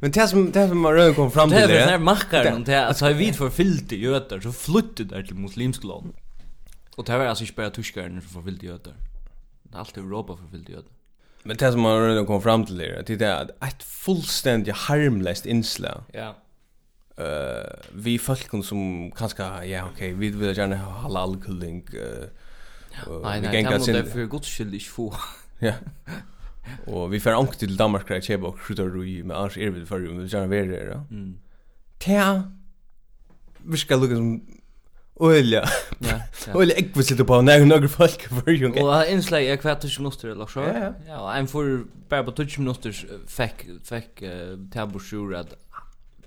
Speaker 2: Men det som det som man rör kom fram
Speaker 3: Det er
Speaker 2: till
Speaker 3: är väl
Speaker 2: det.
Speaker 3: när mackar om det alltså har vi för filt i götar så flyttar där till muslimsk land. Och det är alltså inte bara tyskar som får filt i götar. Det är alltid Europa för filt i götar.
Speaker 2: Men det som man redan kom fram till det, det är att ett fullständigt harmlöst inslag
Speaker 3: Ja.
Speaker 2: eh vi folkon som kanske ja okej vi vill gärna ha halal kulling eh och
Speaker 3: Nej,
Speaker 2: vi
Speaker 3: nej,
Speaker 2: gänga
Speaker 3: det är
Speaker 2: sin
Speaker 3: för guds skull inte få.
Speaker 2: ja och vi får ank till Danmark och köpa och skjuta roi med annars är vi för vi vill gärna vara där då
Speaker 3: Mm.
Speaker 2: ja vi ska lukka som olja
Speaker 3: Ja. ja.
Speaker 2: olja ekvisit på när några folk för ju okej
Speaker 3: Och det inslag är kvart 20 minuter eller så.
Speaker 2: Ja, ja.
Speaker 3: Ja, och en får bara på 20 minuter eh, fick fick uh, taborsur att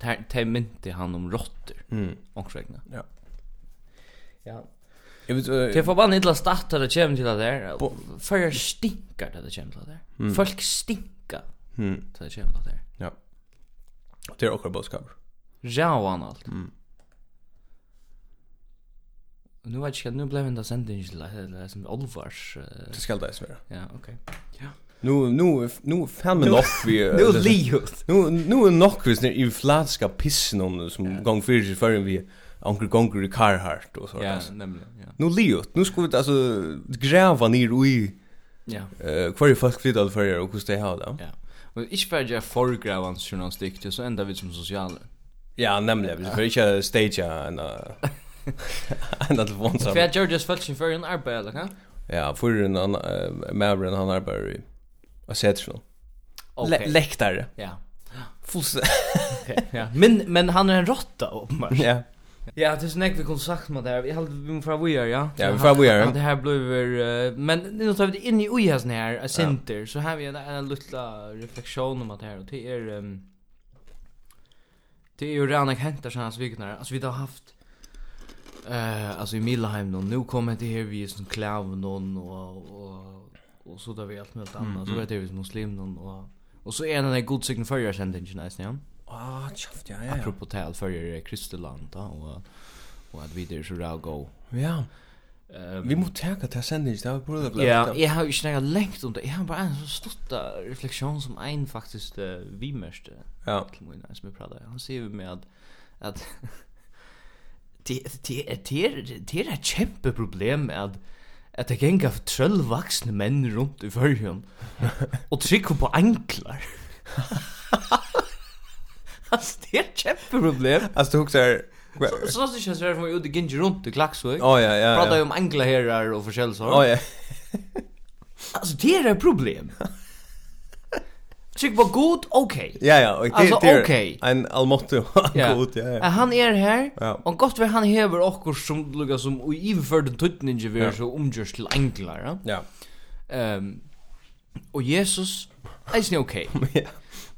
Speaker 3: ta- ta mynte han om råttor.
Speaker 2: mm
Speaker 3: Ångsvägna.
Speaker 2: Ja.
Speaker 3: Ja.
Speaker 2: jag vet eh,
Speaker 3: Det får bara inte starta det kommer till det där. För stinkar det det kommer till det där. Folk stinkar
Speaker 2: mm
Speaker 3: till det kommer till det där.
Speaker 2: ja det är också boskap
Speaker 3: Rävan allt. Mm. Nu vet jag inte, nu blev inte sändningen till det här som Olvars. eh,
Speaker 2: det ska det vara
Speaker 3: Ja, okej.
Speaker 2: Nu nu nu fem nog vi
Speaker 3: Liot.
Speaker 2: Nu nu är nog vis när i flatska pissen om som gång för sig förrän vi onkel gonger i Carhartt och så.
Speaker 3: Ja,
Speaker 2: alltså.
Speaker 3: nämligen. Ja.
Speaker 2: Nu liot, nu ska vi alltså gräva ner i
Speaker 3: Ja.
Speaker 2: eh kvar i folk flyttar för er och hur det har det.
Speaker 3: Ja. Och ich färd jag förgravans journalistik till så ända vid som sociala.
Speaker 2: Ja, nämligen. Vi ska inte stagea en eh, en
Speaker 3: Så
Speaker 2: telefonsam.
Speaker 3: jag gör just fällt sin för en arbete eller kan?
Speaker 2: Ja, för en Mavren han arbetar i och sätter nu.
Speaker 3: Okej.
Speaker 2: Läktare.
Speaker 3: Ja.
Speaker 2: Fullständigt.
Speaker 3: Okej. Ja. Men men er han är en råtta uppenbart.
Speaker 2: Ja.
Speaker 3: Ja, det är snägg vi kunde sagt med det här. Vi hade vi måste vi gör, ja.
Speaker 2: Ja, vi får vi gör.
Speaker 3: Det här blev eh, men nu tar vi det in i oj här sån här a eh, center så här vi en, en lilla reflektion om att det här och det är ehm, det er är ju redan jag hämtar såna här sviknar. Alltså vi har haft eh alltså i Milheim då nu kommer det här vi er är sån klav någon och och och så där vi allt möjligt annat
Speaker 2: Mm-hmm.
Speaker 3: så vet det vi er som muslim någon och och så er är den där godsign förra sändningen nästan ja
Speaker 2: Ah, tjaft, ja, ja. ja.
Speaker 3: apropå tal för er kristeland då och och att vi det så där go.
Speaker 2: Ja. Vi måste ta det här sändningen, det har vi borde bli.
Speaker 3: Ehm, Ja, jag har ju snackat längt om det. Jag har bara en så stotta reflektion som en faktiskt uh, vi mörste
Speaker 2: Ja.
Speaker 3: till mig när jag pratar. Han säger ju med att att det det det det er är ett kämpe problem med att att det gänga av tröll vuxna män runt i förhjön och trycker på anklar. Alltså det er är ett kämpe problem.
Speaker 2: Alltså du huxar...
Speaker 3: Så så känns det som att vi är ute runt i Klaxvik.
Speaker 2: Åh, ja, ja.
Speaker 3: Pratar um ju
Speaker 2: ja.
Speaker 3: om anklar här och försäljsar.
Speaker 2: Åh, ja.
Speaker 3: Alltså det är ett problem. Tyck var god, okej.
Speaker 2: Ja, ja. och det-
Speaker 3: Alltså,
Speaker 2: det är
Speaker 3: okej.
Speaker 2: En allmåttig och en god, ja,
Speaker 3: Eh,
Speaker 2: ja.
Speaker 3: Han är här,
Speaker 2: Ja.
Speaker 3: och gott väl han hever också som lukar som i överförden tuttninge vi
Speaker 2: Ja.
Speaker 3: är så omgörs till anklar. Ja?
Speaker 2: Ja.
Speaker 3: Ehm och Jesus, det är okej.
Speaker 2: Ja.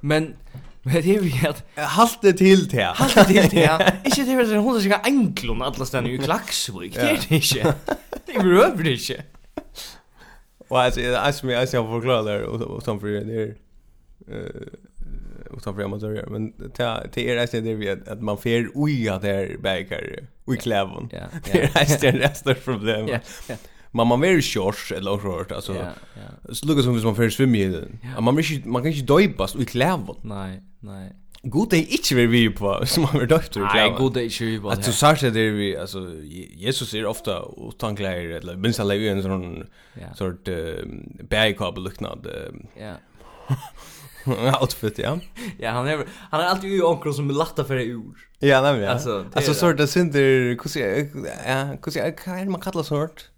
Speaker 3: Men, men det är ju att
Speaker 2: Halt det till det. här.
Speaker 3: Allt det till det. Ikke det er hundra sikkert enklon alla stedene i Klaksvik. Det er det ikke. Det er røver det ikke.
Speaker 2: Och alltså jag som jag ska förklara där och och som för det är eh och som för amatörer men det er- det är alltså det vi att att man fer oj att det er är bäkar oj klävon.
Speaker 3: Ja,
Speaker 2: Det är alltså det er nästa problem.
Speaker 3: Ja, ja,
Speaker 2: Men man är shorts eller short alltså
Speaker 3: ja, ja.
Speaker 2: så lukar som hvis man fer svimma i den.
Speaker 3: Ja.
Speaker 2: Man vill inte man kan inte döpas oj klävon.
Speaker 3: Nei, nei.
Speaker 2: God det er är inte vi på som man är döpt oj
Speaker 3: Nei,
Speaker 2: klävon.
Speaker 3: god det er ikke vi bare
Speaker 2: Att så sagt det är vi alltså Je- Jesus är ofta utan kläder eller minst alla i en sån
Speaker 3: Ja,
Speaker 2: sort eh, bärkabel liknande eh,
Speaker 3: ja.
Speaker 2: outfit, ja.
Speaker 3: Ja, han är han är alltid ju onkel som er lattar för ur.
Speaker 2: Ja, nej men.
Speaker 3: Alltså,
Speaker 2: Alltså,
Speaker 3: det är
Speaker 2: alltså
Speaker 3: det.
Speaker 2: sort av synder, kus jag, ja, kus jag kan man kalla sort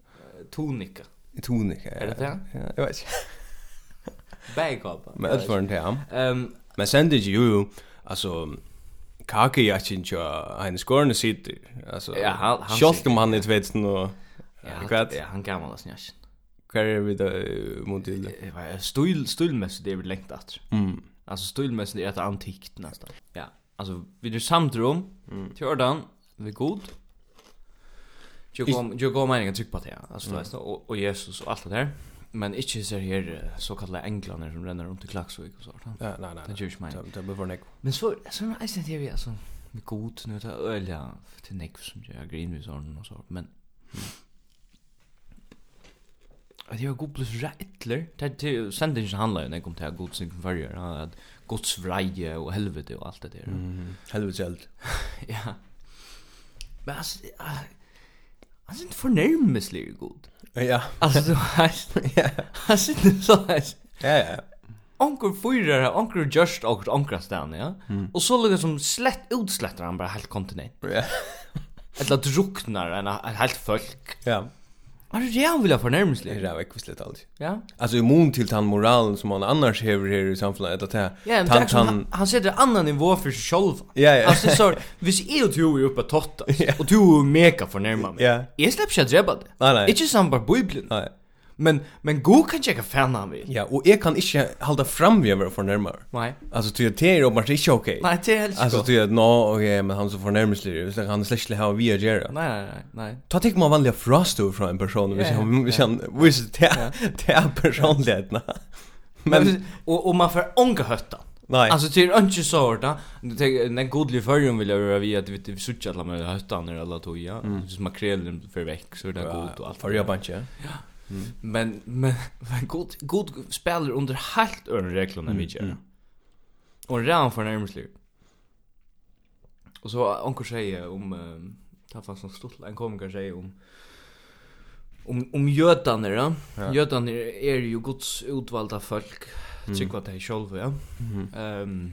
Speaker 3: Tonika.
Speaker 2: tonika.
Speaker 3: Är det det?
Speaker 2: Ja, jag vet. inte.
Speaker 3: Bagkapa.
Speaker 2: Men det var inte ja.
Speaker 3: Ehm,
Speaker 2: Men sen det ju ju alltså kake jag inte en skorne sitter. Alltså
Speaker 3: Ja, han- han
Speaker 2: Scholt om han inte vet nu.
Speaker 3: ja,
Speaker 2: Kvart.
Speaker 3: ja, han gammal as njas.
Speaker 2: Kvar är vi då eh, mot till.
Speaker 3: er Stil stilmässigt det er är väl längt att.
Speaker 2: Mm.
Speaker 3: Alltså stilmässigt är det er antikt nästan. Ja, alltså vi är samt rum. Till ordan, vi är god. Jag kom jag kom meningen tryck på det. ja. Alltså du vet och och Jesus och allt det där. Men inte så här eh, så kallade änglarna som ränner runt i Klaxvik och sånt.
Speaker 2: Ja, nej nej.
Speaker 3: Det gör ju mig.
Speaker 2: Det blir för nek.
Speaker 3: Men så så är det ju alltså med god nu det öliga till näck som jag green vid sån och så men Att jag god plus rättler det er till sändningen handlar ju när jag kom till god sin varje att Guds vreje och helvete och allt det där.
Speaker 2: Helvete själv.
Speaker 3: Ja. Men alltså ah, alltså inte förnärmeslig god.
Speaker 2: Eh, Ja.
Speaker 3: Alltså du hast ja. Alltså inte er så er här
Speaker 2: Ja ja.
Speaker 3: onkur fyrar, onkur just og onkra stan, ja. Og så lukka som slett utslettar han bara helt kontinent.
Speaker 2: Mm. Ja.
Speaker 3: Eller druknar en, en helt folk.
Speaker 2: Ja.
Speaker 3: Har du det han er
Speaker 2: Det
Speaker 3: vilja
Speaker 2: er är
Speaker 3: fornærmeslig?
Speaker 2: rätt kvisligt allt.
Speaker 3: Ja.
Speaker 2: Alltså immun till han moralen som man annars hever här i samfunnet att det
Speaker 3: Ja, men det
Speaker 2: han
Speaker 3: er som, han,
Speaker 2: han
Speaker 3: han setter annan nivå för sig själv.
Speaker 2: Ja, ja.
Speaker 3: Alltså så, hvis jeg og du er oppe og totta, og du er mega fornærma meg,
Speaker 2: Ja.
Speaker 3: jeg slipper ikke å drepa det.
Speaker 2: Nei, nei.
Speaker 3: Ikke sammen bare bibelen.
Speaker 2: Nej.
Speaker 3: Men, men god kan ikke fan han vil.
Speaker 2: Ja, och jag kan inte hålla fram vi över för närmare.
Speaker 3: Nei.
Speaker 2: Alltså tycker det är uppenbart inte okej.
Speaker 3: Nei, det er helt
Speaker 2: Alltså
Speaker 3: ikke.
Speaker 2: tycker jag nå okej, men han så förnärmer sig så han er släckte ha vi gör.
Speaker 3: Nei, nei, nei, nei.
Speaker 2: Ta tek man vanliga frastor från en person och vi
Speaker 3: Ja, ja,
Speaker 2: kan vi kan visst det det är personligheten. Men
Speaker 3: Men och och man får ånga hötta.
Speaker 2: Nej.
Speaker 3: Alltså det är inte så hårt. va? Du tänker den godliga förrum vill jag göra vi att vi vi sucha alla med höttan eller alla toja. Så man kräver för veck så är det
Speaker 2: er
Speaker 3: god och allt.
Speaker 2: för jag banke.
Speaker 3: Men men men god god spelar under helt andra regler än vi gör. er Och ram för närmast liv. Och så onkel säger om eh, Det var faktiskt en stort en komiker um, säger om om om jötarna då.
Speaker 2: Ja.
Speaker 3: Jötarna är ju Guds utvalda folk.
Speaker 2: Mm.
Speaker 3: Tycker vad det är själva, ja.
Speaker 2: Mhm.
Speaker 3: Ehm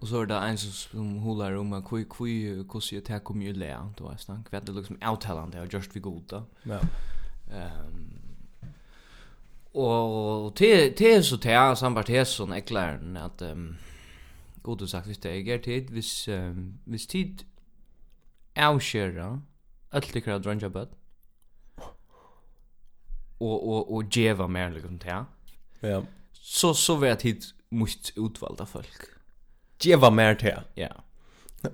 Speaker 3: Och så är det en som, som håller om att hur hur hur ser det här kommer ju lä, då är stank. Vi hade er liksom outtalande och just vi goda.
Speaker 2: Ja.
Speaker 3: Ehm och till till så till sambart här sån äcklaren att ehm god och sagt visst det är tid vis ehm vis tid avskärra allt det kvar drunja bad. Och och och geva mer liksom till.
Speaker 2: Ja.
Speaker 3: Så så vet hit måste utvalda folk.
Speaker 2: Geva mer te.
Speaker 3: Ja.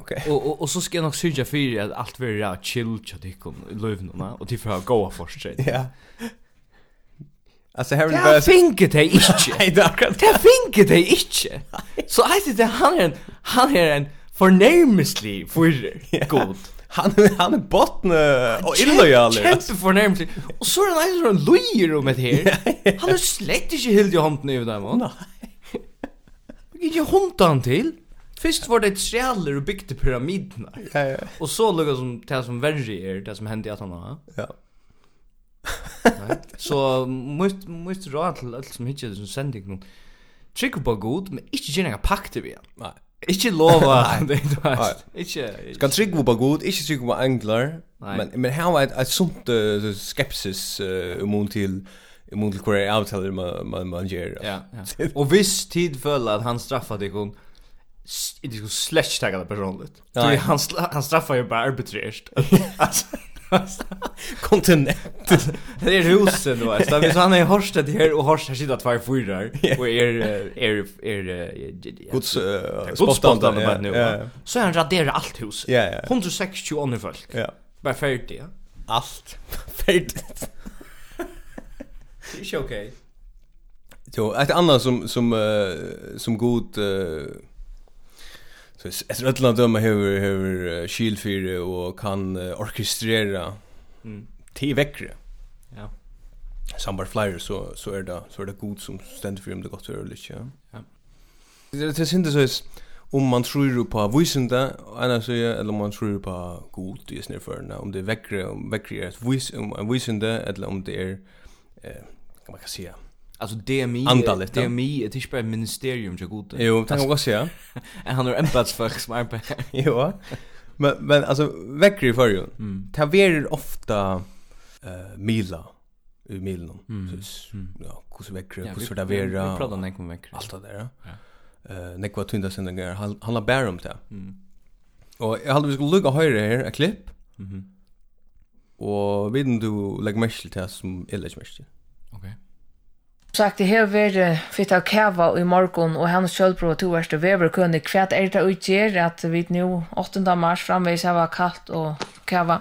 Speaker 2: Okej.
Speaker 3: Och och och så ska jag nog syrja för att allt vara chill chat ikon lövnorna och till för att gå först.
Speaker 2: Ja. Alltså här är det
Speaker 3: Ja,
Speaker 2: bara
Speaker 3: finket det inte.
Speaker 2: Nej, det är akkurat.
Speaker 3: Det finke det ikke. Så jeg synes at han er en, han er en fornærmeslig fyrer. God.
Speaker 2: Han han er eh, är botten och illojal.
Speaker 3: Kjempe fornærmeslig. Og så er han en sånn løyer om et um her. Han er slett ikke helt i hånden i dem. Nei. Ikke hånden han til. Først var det et trealer og bygde pyramidene.
Speaker 2: Ja, ja.
Speaker 3: Og så lukket som det som verre er, det som hendte i at han var.
Speaker 2: Ja.
Speaker 3: Så måste måste råd til alt som hittir som sending nu. Trykk på god, men ikke gjerne pakte vi han.
Speaker 2: Nej.
Speaker 3: Ikke lova det du vet.
Speaker 2: Nei.
Speaker 3: Ikke
Speaker 2: Kan trygg på god, inte trygg på angler.
Speaker 3: Nei.
Speaker 2: Men men how I I sunt eh, skepsis eh, emot till emot till queer out till man man man ger.
Speaker 3: Ja, ja. Og viss tid føler at han straffade ikon s- det skulle slash tagga det personligt.
Speaker 2: Nei.
Speaker 3: För han sla- han straffar ju bara arbiträrt. Alltså
Speaker 2: Kontinent.
Speaker 3: det er är husen då. Så hvis han er är Horsted här och Horsted sitter två fyrar och är eh, är är eh,
Speaker 2: Guds eh,
Speaker 3: Godt spottan
Speaker 2: ja,
Speaker 3: bara nu.
Speaker 2: ja,
Speaker 3: va? Så er han raderar allt huset.
Speaker 2: Ja, ja.
Speaker 3: 160 andra folk.
Speaker 2: Ja.
Speaker 3: Bara färdigt. ja.
Speaker 2: Allt färdigt.
Speaker 3: Det er är inte okej.
Speaker 2: Jo, ett annat som som eh, som god eh, så är ett rätt land döma hur hur skilfyr och kan eh, orkestrera
Speaker 3: Mm.
Speaker 2: till väckre.
Speaker 3: Ja.
Speaker 2: Sambar flyer så så är det så är det god som ständer för om det um gott rörligt, ja. er,
Speaker 3: Ja.
Speaker 2: Det det syns så är om man tror på visende eller så eller om man tror på god i snär för om det väckre om väckre är ett vis om visende eller om det är um eh kan man kan säga.
Speaker 3: Alltså DMI
Speaker 2: Antalet, ja.
Speaker 3: DMI är inte bara ett ministerium jag god.
Speaker 2: Jo, tack också ja.
Speaker 3: En han har embedsfolk som arbetar.
Speaker 2: Jo. Men men alltså väcker i förrjun. Mm. Ta verer ofta eh mila i milen.
Speaker 3: Mm.
Speaker 2: Så ja, kus väcker,
Speaker 3: Ja, vi-
Speaker 2: kus ta
Speaker 3: vi- Vi
Speaker 2: vera.
Speaker 3: pratar näck om veckor.
Speaker 2: allt det där.
Speaker 3: Ja.
Speaker 2: Ja. Eh nekva tunda sen den han han har bär om det.
Speaker 3: Mm.
Speaker 2: Och jag hade vi skulle lugga höra här ett klipp
Speaker 3: Mhm.
Speaker 2: och vet inte du lägger mest till det som är lägger mest.
Speaker 3: Okej.
Speaker 7: sagt, jeg har vært fitt eh, av kava i morgen, og hans kjølbro og toverste vever kunne kvært er det utgjør at vi nå 8. mars framveis har vært kaldt og kava.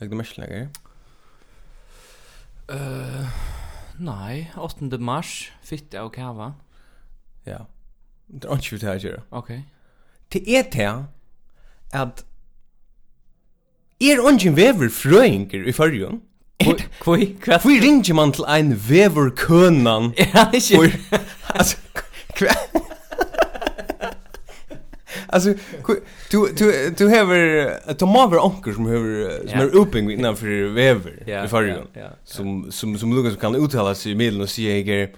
Speaker 2: Lägger mest lägger.
Speaker 3: Eh nej, 8 mars fitta och kava.
Speaker 2: Ja. Det är inte det här.
Speaker 3: Okej.
Speaker 2: Det är det att
Speaker 3: er
Speaker 2: är ungen vever fröingar i förrjun.
Speaker 3: Kvoi, kvart.
Speaker 2: Vi ringer man till en veverkönan.
Speaker 3: Är han
Speaker 2: Hvor-
Speaker 3: inte?
Speaker 2: Alltså kva Alltså ku- du du du har du må vara onkel som har som
Speaker 3: Ja.
Speaker 2: är upping innanför vever i förrjun.
Speaker 3: Ja.
Speaker 2: Som som som Lucas kan uttala sig i mitten och säga att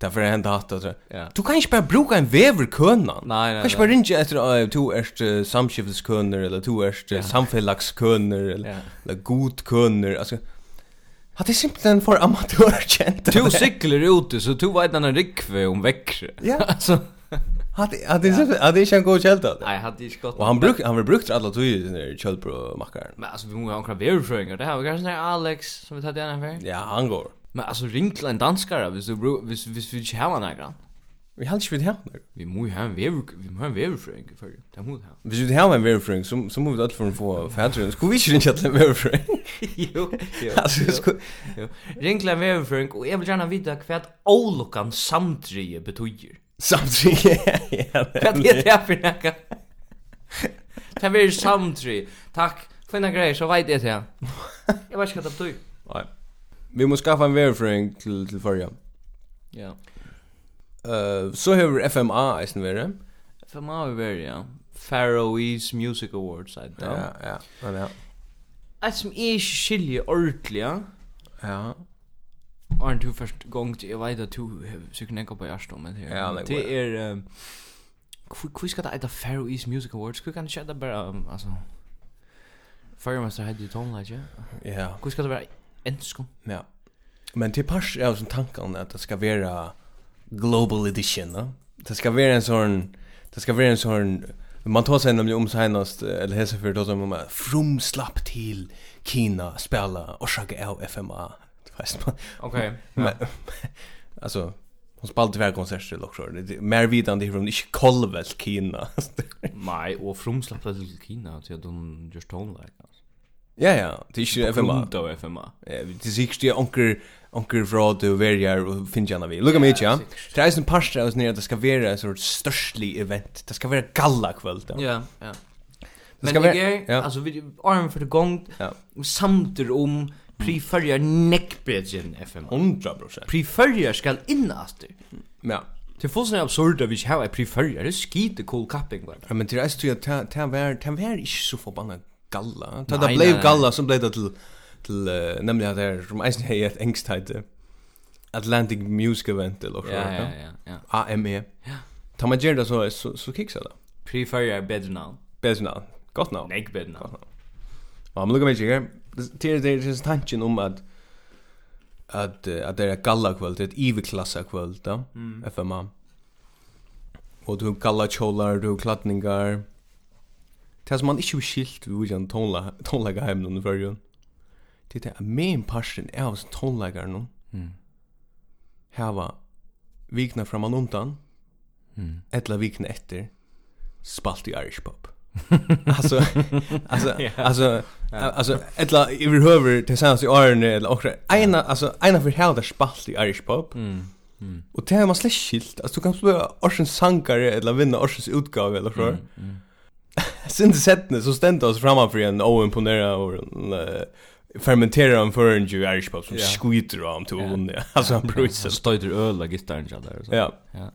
Speaker 2: därför har hänt att alltså.
Speaker 3: Ja.
Speaker 2: Du kan inte bara bruka en veverkönan.
Speaker 3: Nej, nej.
Speaker 2: Kanske bara ringa efter uh, to erst uh, samskifteskunner eller to erst uh, samfellagskunner eller,
Speaker 3: Ja.
Speaker 2: eller godkunner. Alltså, ja, det är simpelthen för amatörkänt.
Speaker 3: Du cyklar ute så du vet när rikve om veckor.
Speaker 2: Ja.
Speaker 3: Alltså
Speaker 2: Hade hade inte hade inte en god kälta.
Speaker 3: nej, hade inte skott.
Speaker 2: Och han bruk han var brukt alla två i den där kältbromackaren.
Speaker 3: Men alltså vi måste ha några verifröingar. Det här var kanske när Alex som vi tog den här för.
Speaker 2: Ja, han går.
Speaker 3: Men alltså ring till en danskare hvis du bru- hvis hvis vi inte har några.
Speaker 2: Vi hade inte vid henne.
Speaker 3: Vi måste ha en ver vi måste ha en verifröing för det. Det måste ha.
Speaker 2: Hvis vi har en verifring, så, så må vi alt for å få fædren. Skulle vi ikke ringe til en verifring?
Speaker 3: Jo. jo,
Speaker 2: Altså,
Speaker 3: jo.
Speaker 2: skulle...
Speaker 3: Jo. Ring til en verifrøing, og jeg vil gjerne vite hva at ålokan samtrige betyr.
Speaker 2: Samtidig, ja, ja.
Speaker 3: Hva er det for noe? Det er samtrige. Takk. Fina greier, så vet jeg det. Jeg vet ikke hva det betyr.
Speaker 2: Nei. Vi må skaffa en verifring til, til forrige.
Speaker 3: Ja.
Speaker 2: Eh, så har FMA eisen vere.
Speaker 3: For meg har vi vært, ja. Faroese Music Awards, I don't know.
Speaker 2: Ja, ja, men ja.
Speaker 3: Ett som jeg ikke skiljer ordentlig, ja.
Speaker 2: Ja.
Speaker 3: Arne, du først gong til, jeg vet at du har sikkert nekka på hjertet, men det
Speaker 2: Ja,
Speaker 3: er,
Speaker 2: det
Speaker 3: det
Speaker 2: går,
Speaker 3: er, um, hvor hvor skal det etta Faroese Music Awards? Hvor kan det skjedda bare, um, altså, Førjemester hadde jo tonelage, ja.
Speaker 2: Ja.
Speaker 3: Hvor skal det være ensko?
Speaker 2: Ja. Men til pars er også tanken at det skal være global edition, no? Det skal være en sån det ska vara en sån man tar sig nämligen om senast um eller hälsa för då som man from um slapp till Kina spela och sjaka av FMA. Du vet man.
Speaker 3: Ok,
Speaker 2: Men, alltså hon spelade tyvärr konserter också. Det är mer er vidande ifrån det är inte kolvel Kina.
Speaker 3: Nei, og frumslappet til Kina, til at hun gjør tonelage, altså.
Speaker 2: ja ja, det er är inte FMA.
Speaker 3: Grunda av FMA.
Speaker 2: Eh, Det sikkert er onker onker fra du verjar og finn gjerne vi. Lukka mig, ja. Det er en parster av oss nere at det skal være en sorts størstlig event. Det skal være galla kvöld. Ja.
Speaker 3: Ja, ja.
Speaker 2: Det
Speaker 3: Men
Speaker 2: skal
Speaker 3: det
Speaker 2: være-
Speaker 3: er,
Speaker 2: ja.
Speaker 3: altså, vi armen for det gong,
Speaker 2: Ja.
Speaker 3: samter om priførjer nekkbedre enn FMA.
Speaker 2: 100%.
Speaker 3: Priførjer skal innaster.
Speaker 2: Ja.
Speaker 3: Det er fullstendig absurd at vi ikke har en priførjer, det er skite cool kapping, bare.
Speaker 2: Ja, Men det er styrt at det var det var ikke så forbanna galla. Ta
Speaker 3: Nei,
Speaker 2: det blei
Speaker 3: nei, nei.
Speaker 2: galla som blei det til til eh, nemlig at det er som eisen hei et engstheit eh, Atlantic Music Event eller så.
Speaker 3: Ja, ja, ja, ja.
Speaker 2: AME. Ja. E. Ta man gjør det så så, så kiksa det.
Speaker 3: Priførjer er bedre navn.
Speaker 2: Bedre navn. Godt navn.
Speaker 3: Nekk bedre navn.
Speaker 2: Ja, men lukka mig ikke. Det er det er tanken om at at eh, at det er galla kvöld, et iveklassa kvöld, da, FMA. Og du har galla kjolar, du har klatningar. Det er som man ikke vil skilt vi vil gjerne tonlaga heimen under fyrrjun. Det er at min parsten er av sin tonlagar nå. Hava vikna framan undan,
Speaker 3: Mm.
Speaker 2: etla vikna etter, spalt i Irish pop. alltså alltså alltså alltså ettla överhuvud tillsammans i Iron eller också ena alltså ena för hela spalt i Irish pop. Mm. Och det är man slash skilt. Alltså du kan spela Orsens sankare eller vinna Orsens utgåva eller så.
Speaker 3: Mm,
Speaker 2: Sen det sättne så ständer oss framför en oimponera och en, eh, fermentera en för en ju Irish pop som
Speaker 3: Ja.
Speaker 2: skiter om till hon. um Alltså han brusar.
Speaker 3: støyder øl av gitaren til der.
Speaker 2: Ja.
Speaker 3: Ja.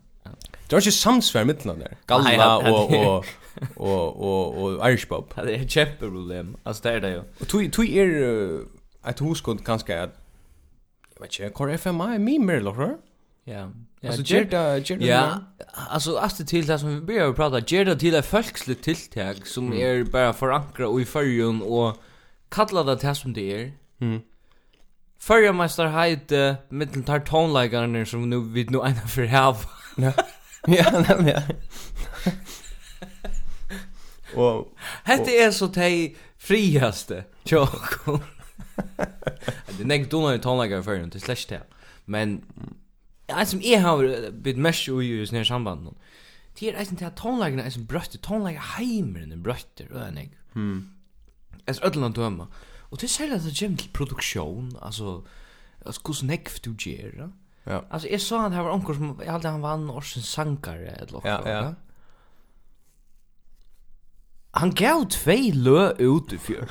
Speaker 2: Det var inte samsvär mitteln där.
Speaker 3: Nei,
Speaker 2: Galla
Speaker 3: ja, ja,
Speaker 2: och
Speaker 3: det-
Speaker 2: och och och och Irish pop.
Speaker 3: Det er et kjempeproblem, altså det er det jo.
Speaker 2: Og tui tui er uh, at huskund kanskje at jeg vet ikke, hvor FMA er min mer eller?
Speaker 3: Ja.
Speaker 2: Altså gjør det gjør det.
Speaker 3: Ja, er alltså att till det som vi börjar prata, ger det till ett folksligt tilltag som är er bara förankra och i förrjun och kalla det till som det er. är.
Speaker 2: Mm.
Speaker 3: Förjamestar hejde mittel tar tonlägarna som nu vid nu ena för hav.
Speaker 2: Ja, nei, ja. Og
Speaker 3: Hette är så tej friaste. Ja. Det er nägg då när tonlägare förrjun till slash det. er Men en som är har bit mesh och ju snär samband. Det är inte att tonlägarna är som brötter, tonlägare heimer den brötter och en
Speaker 2: Hmm.
Speaker 3: Es ödlan döma. Och det säger att det kommer till produktion, alltså alltså hur snägg du gör.
Speaker 2: Ja.
Speaker 3: Alltså jag sa att det här var onkel som jag hade han vann Orsens sankare eller något.
Speaker 2: Ja, ja.
Speaker 3: Han gav två lö ut i fjör.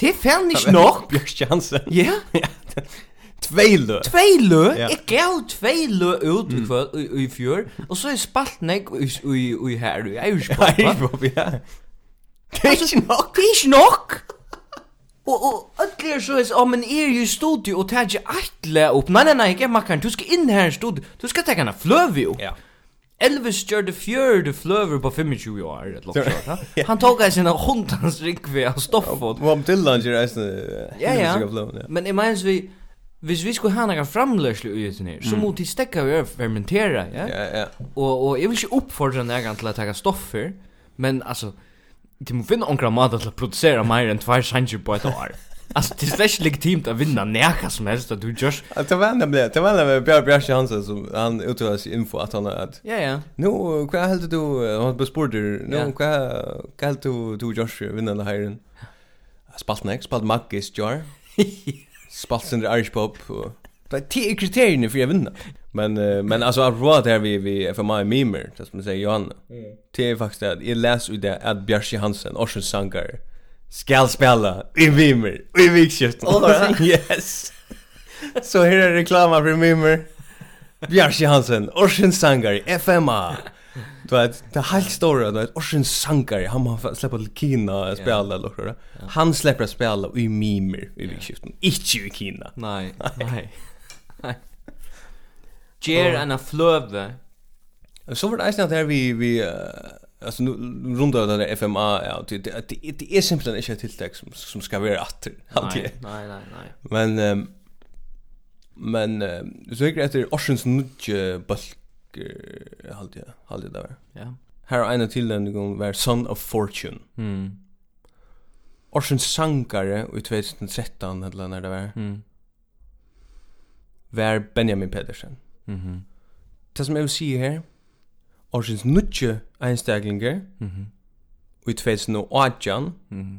Speaker 3: det är fan inte nog.
Speaker 2: Bjørk Jansen.
Speaker 3: Ja,
Speaker 2: Tveilø.
Speaker 3: två lö.
Speaker 2: Ja.
Speaker 3: Jag gav två lö ut i kväll i, i fjör. Och så är spalt nägg i, i, i här. Jag är ju spalt. va?
Speaker 2: Irish pop, ja.
Speaker 3: Det er ikke nok. Det er ikke nok. Og, og ødelig er så, ja, men er jo i studio og tar ikke atle opp. Nei, nei, nei, ikke makkaren. Du skal inn her i studio. Du skal ta henne fløve jo.
Speaker 2: Ja.
Speaker 3: Elvis gjør det fjørde fløver på 25 år. eller noe sånt, ja. Han tok av sine hundans rikve av stoffet.
Speaker 2: Bob Dylan gjør eisen. eh,
Speaker 3: Ja, ja. Men jeg mener vi, hvis vi skulle ha noen framløsle i den her, så må de stekke og fermentere, Mm. ja?
Speaker 2: Ja, ja.
Speaker 3: Og, og jeg vil ikke oppfordre nærgan til å ta stoffer, men altså, de må finne onkra mat til å produsere mer enn tvær sanger på et år. Altså, det er slett ikke legitimt å vinne nærgan som helst at du gjørs.
Speaker 2: Att det var nämligen, det var nämligen Björk Björk Jansen som han uttalade sin info att han er- att
Speaker 3: Ja, ja.
Speaker 2: Nu, hva heldur eh, du, han bespurter, nu,
Speaker 3: Ja.
Speaker 2: hva, hva heldur du, du, Josh, vinnande hæren? Spalt nek, spalt Maggis, Jar. spalt sindri Irish Pop. Og... Det er ti kriteriene for jeg vinner. Men, eh, men altså, apropos at her vi, vi FMA er mimer, det som man sier, Johanne. Det er faktisk det at jeg leser ut det at Bjarsi Hansen, Orsens sangar, skal spela i mimer, i vikskiften. yes! Så her er reklama for mimer. Bjarsi Hansen, Orsens sangar, FMA. Du vet, det är helt stora, du vet, Orsen Sankari, han har släppt till Kina och spela eller något. Han släpper att spela i mimer i vikskiften, inte i Kina.
Speaker 3: Nei, nei. Nei. Ger en fløve.
Speaker 2: Så var det eisen at her vi, vi eh, altså nu rundt av den der FMA, ja, det, det, det, det er simpelthen ikke et tiltak som, som skal være atter.
Speaker 3: Nei,
Speaker 2: alltid.
Speaker 3: nei, nei, nei.
Speaker 2: Men, um, men, um, så gikk det etter Orsens eh, nudje balker, halde jeg, halde jeg det var.
Speaker 3: Ja.
Speaker 2: Her er en av tilnevningene var Son of Fortune.
Speaker 3: Mm.
Speaker 2: Orsens sangare i 2013, eller når det var,
Speaker 3: Mm.
Speaker 2: var Benjamin Pedersen.
Speaker 3: Mhm.
Speaker 2: Det som jeg vil si her, Orsens nudje einstaglinger
Speaker 3: Mhm.
Speaker 2: i 2018,
Speaker 3: Mhm.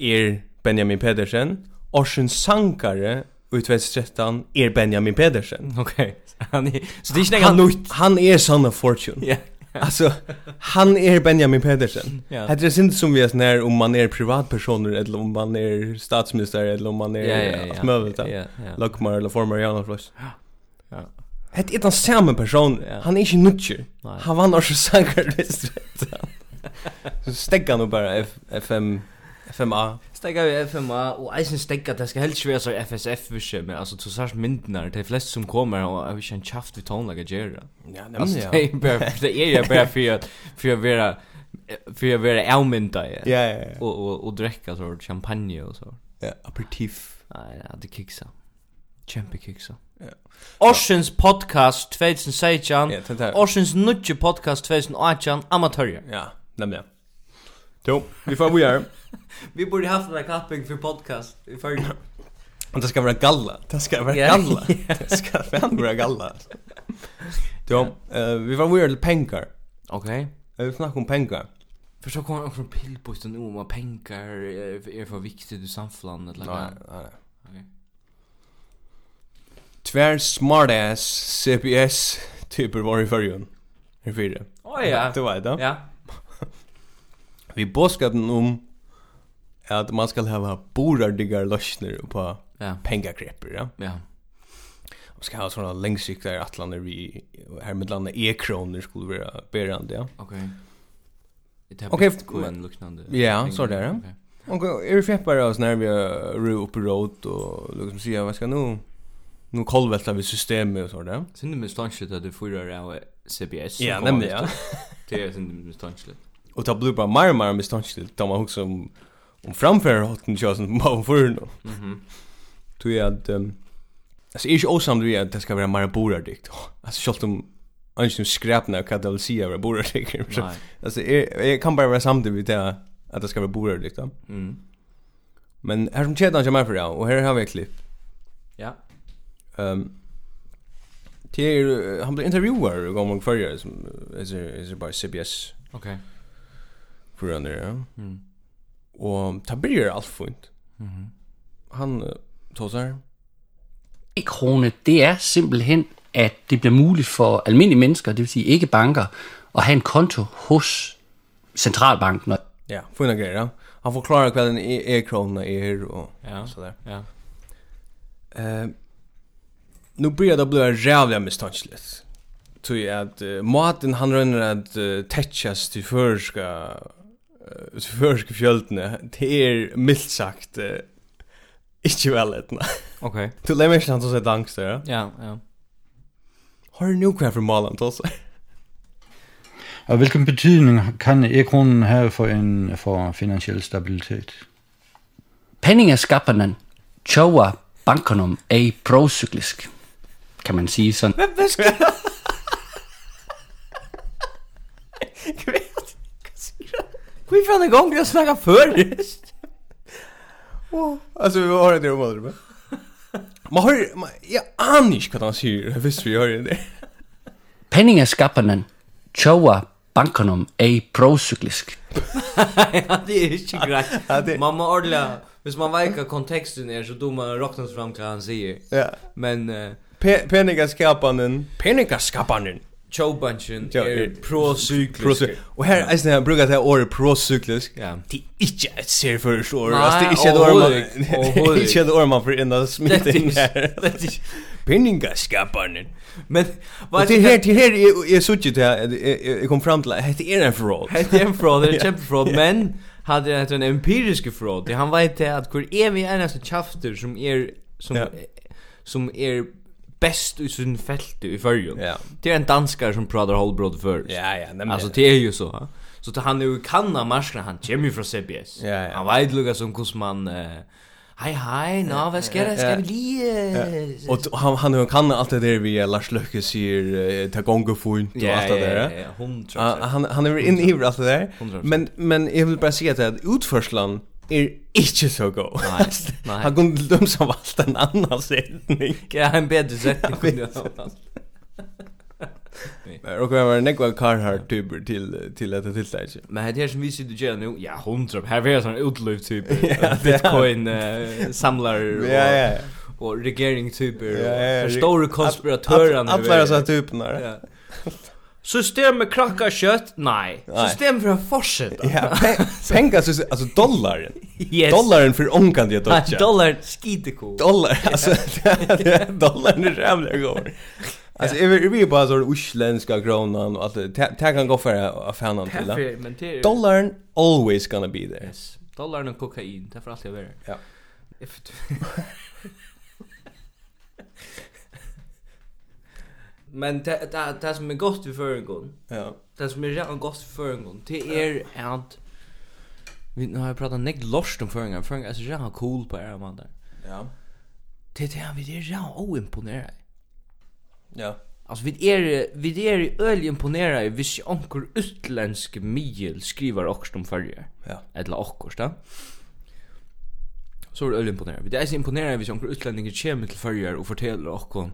Speaker 2: er Benjamin Pedersen. Orsens sangare i 2013 er Benjamin Pedersen.
Speaker 3: Okej. Han är så er det är inte något nytt.
Speaker 2: han er Son of Fortune.
Speaker 3: Ja.
Speaker 2: Alltså, han er Benjamin Pedersen. er
Speaker 3: Ja.
Speaker 2: Det är inte som vi är sån här om um man er är privatpersoner eller om um man är statsminister eller om man är
Speaker 3: Ja, ja, ja.
Speaker 2: allt möjligt.
Speaker 3: Ja,
Speaker 2: Ja.
Speaker 3: ja. ja.
Speaker 2: Lockmar eller former Jan Floss.
Speaker 3: Ja.
Speaker 2: Det är den samma er person. er
Speaker 3: Ja.
Speaker 2: Han är inte nutcher.
Speaker 3: Nej.
Speaker 2: Han vann också sangare i Så stäcker han nog bara F- FM, FMA.
Speaker 3: Stegga vi FMA og eisen stegga det skal helst ikke være så FSF visse men altså to sars myndnar de flest som kommer og jeg vil ikke en kjaft vi tonlaga gjerra
Speaker 2: Ja,
Speaker 3: altså det er bare det er jo bare for at for å være for å være avmynda ja.
Speaker 2: Ja, ja, ja.
Speaker 3: og, og, og drekka så champagne og så
Speaker 2: Ja, aperitif.
Speaker 3: nei ja, det kiksa kjempe kiksa
Speaker 2: Ja.
Speaker 3: Orsens podcast 2016
Speaker 2: Ja, det där.
Speaker 3: Orsens nudge podcast 2018 amatørja
Speaker 2: Ja, nämligen. Jo, vi får vidare.
Speaker 3: vi burde haft en kapping for podcast i fyrir
Speaker 2: Och det ska vara galla. Det ska vara
Speaker 3: Ja.
Speaker 2: galla. Det ska fan vara galla. Jo, eh, vi får vidare till pengar.
Speaker 3: ok
Speaker 2: Eh, Vi snackar om pengar.
Speaker 3: För så kommer också pillposten om att pengar är är för viktigt i samhället eller
Speaker 2: Nej,
Speaker 3: vad.
Speaker 2: nej.
Speaker 3: Okej.
Speaker 2: Tvär smartass CPS typer var i förrjun. Hur fyra?
Speaker 3: Åh ja.
Speaker 2: Det var det.
Speaker 3: Ja.
Speaker 2: Vi bådskapen om att man ska ha borardigar lösner på
Speaker 3: Ja.
Speaker 2: pengakrepper, ja.
Speaker 3: Ja.
Speaker 2: Man ska ha sådana längsiktiga atlander vi här med landa e-kronor skulle vara berande, ja.
Speaker 3: Okej. Det
Speaker 2: Okej,
Speaker 3: har
Speaker 2: men-
Speaker 3: Bitcoin liknande.
Speaker 2: Ja,
Speaker 3: pengar.
Speaker 2: så där, ja.
Speaker 3: Okej.
Speaker 2: Och är vi feppar oss när vi rör upp i råd och liksom säga vad ska nu nu kolvälta vi systemet och sådär.
Speaker 3: Sen det med stanslet att du får det av CBS. som
Speaker 2: Ja,
Speaker 3: kommer
Speaker 2: nämligen. Ja.
Speaker 3: efter. Det är sen med stanslet.
Speaker 2: Och ta blue bara mer och mer med ståndstilt då man också om om framför hotten kör som man för nu.
Speaker 3: Mhm.
Speaker 2: Tror jag att um, er alltså är ju osam du att det ska vara mer borardikt. Alltså självt om Anschen skräpna kan det väl säga vara borardikt.
Speaker 3: Nej.
Speaker 2: Alltså jag, jag kan bara vara samtidigt vid det att det ska vara borardikt. då.
Speaker 3: Mm.
Speaker 2: Men här som kedjan kommer för det och här har vi ett klipp.
Speaker 3: Ja.
Speaker 2: Ehm Det är ju- han blir intervjuar gång gång förr som är är bara CBS
Speaker 3: Okej.
Speaker 2: för den där.
Speaker 3: Mm.
Speaker 2: Och ta blir allt fint.
Speaker 3: Mhm.
Speaker 2: Han eh, tosar.
Speaker 5: E-krone, det er simpelthen, at det bliver muligt for almindelige mennesker, det vil sige ikke banker, at have en konto hos centralbanken. Og
Speaker 2: Ja, fina grejer. ja. Han förklarar vad den e-krona är och
Speaker 3: Ja.
Speaker 2: så där.
Speaker 3: Ja.
Speaker 2: Eh nu börjar det bli jävla misstänkligt. Tror jag att uh, maten han rönner att uh, täckas till förska uh, till förska fjöldene. Det är milt sagt uh, inte väl ett
Speaker 3: Okej.
Speaker 2: Du lämnar inte han som sätter angst där. ja?
Speaker 3: Ja, ja.
Speaker 2: Har du nog kvar för Malan då så?
Speaker 8: Og hvilken betydning kan e-kronen have for, en, for finansiel stabilitet?
Speaker 5: penningaskappanen tjoa bankanum er procyklisk, kan man sige sådan.
Speaker 3: Vi fann en gång vi har snackat förr.
Speaker 2: Alltså vi har det om det. Man har man, jag anar inte vad han säger. Visst vi gör det.
Speaker 5: Penningaskappanen tjoa bankanum er procyklisk.
Speaker 3: Ja, det är inte
Speaker 2: det-
Speaker 3: grejt. Man må ordla, hvis man veikar kontexten er, så då man råknas fram till han säger.
Speaker 2: Ja.
Speaker 3: Men, eh,
Speaker 2: Penningaskaparen. Penningaskaparen.
Speaker 3: Chowbunchen
Speaker 2: Ja,
Speaker 3: er
Speaker 2: er-
Speaker 3: pro-cyklisk.
Speaker 2: Procy- Og her er sådan, jeg bruger det her ordet procyklisk.
Speaker 3: Ja.
Speaker 2: Det er ikke et serførst ord.
Speaker 3: Nej,
Speaker 2: altså, det er ikke et ord, man,
Speaker 3: overhovedet ikke.
Speaker 2: det er
Speaker 3: Overhovedet
Speaker 2: ikke et ord, man får ind og
Speaker 3: Det
Speaker 2: smide
Speaker 3: er
Speaker 2: ind
Speaker 3: ikke-
Speaker 2: her.
Speaker 3: det er ikke-
Speaker 2: Penningaskaparen.
Speaker 3: Men
Speaker 2: Og det er her, det er her, jeg- jeg så ikke det her, jeg- jeg jeg kom frem til, at det er en fraud.
Speaker 3: Hetta er en fraud, det er kjempe fraud, men hadde jeg hatt en empirisk fraud, det han veit det at hvor er vi eneste kjafter som er som
Speaker 2: Ja.
Speaker 3: som er best i sin feltu i fyrjun.
Speaker 2: Ja.
Speaker 3: Det er en danskar som pratar holbrod først.
Speaker 2: Ja, ja, nemlig.
Speaker 3: Alltså det är ju så. ha? Så att han er är ju kanna marskna, han kommer ju från CBS.
Speaker 2: Ja, ja.
Speaker 3: Han vet lugga som hur man eh, Hej hej, nå, vad ska det? Ska vi li? eh,
Speaker 2: Og t- han, han kan alt det der vi eh, Lars Løkke sier, eh, ta gonga fint og alt det der.
Speaker 3: ja, ja, hon tror
Speaker 2: Ah,
Speaker 3: jag.
Speaker 2: han han är in i allt det där.
Speaker 3: 100%.
Speaker 2: Men men jag vill bara säga att utförslan är inte er så god.
Speaker 3: Nej, nej.
Speaker 2: Han kunde till dem som valt en annan sättning.
Speaker 3: Ja, en bättre sättning kunde jag ha.
Speaker 2: Och det var en ekva Carhartt tuber till till detta tilltage.
Speaker 3: Men det här som vi sitter och gör nu, ja, hundra. Här är sån utlöv typ. Bitcoin eh, samlare och,
Speaker 2: Ja ja.
Speaker 3: och regering typer.
Speaker 2: Ja, ja, ja.
Speaker 3: och stora konspiratörer.
Speaker 2: Alla så typerna. Ja.
Speaker 3: Ja. Systemet krakkar kött? Nej.
Speaker 2: Nej.
Speaker 3: Systemet för att fortsätta.
Speaker 2: Ja, pe- pengar så alltså dollaren.
Speaker 3: Yes.
Speaker 2: Dollaren för onkan det
Speaker 3: Nej,
Speaker 2: dotter.
Speaker 3: dollar skiteko.
Speaker 2: dollar alltså dollarn är jävla god. Alltså är vi- är vi bara så usländska kronan och allt det Ta- ta kan gå för att fan till. ja.
Speaker 3: Därför, men det är...
Speaker 2: Dollarn always gonna be there.
Speaker 3: Yes. Dollarn och kokain, det är för allt jag vet.
Speaker 2: Ja.
Speaker 3: Men det, det, det som är er gott i föregång,
Speaker 2: Ja.
Speaker 3: det som är redan er gott i föregång, det är att vi nu har jag pratat näck lost um om föregång, föregång är så jävla er cool på era man där.
Speaker 2: Ja.
Speaker 3: Det är det här, vi är jävla oimponerade.
Speaker 2: Ja.
Speaker 3: Alltså vi är vi är öl er imponerade hvis onkel utländsk mejl skriver också om förr.
Speaker 2: Ja.
Speaker 3: Eller också då. Så är det öl imponerade. Vi är så imponerade hvis onkel utländsk kommer till förr och fortäller också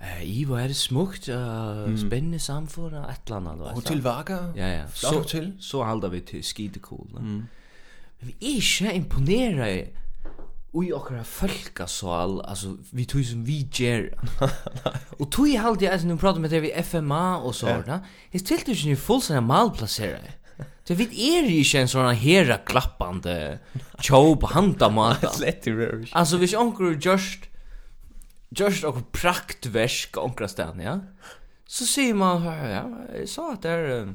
Speaker 3: eh i vad är det smukt uh, spännande samfund och ett land då.
Speaker 2: Och till Vaga?
Speaker 3: Ja ja.
Speaker 2: Flott
Speaker 3: Så
Speaker 2: hotell.
Speaker 3: så håller vi till skitecool. Mm. Men vi er är inte imponerade Ui okkara folkasal, altså, vi tog som vi gjer. og tog i halde jeg, altså, når vi prater med det vi FMA og så, ja. jeg stilte ikke ni fullstendig malplassere. Så vi er ikke en sånn hera klappande tjob handamata.
Speaker 2: Slett i rörs.
Speaker 3: Altså, hvis onker just, just okkur praktversk onkra stan, ja, så sier man, ja, jeg sa at det er,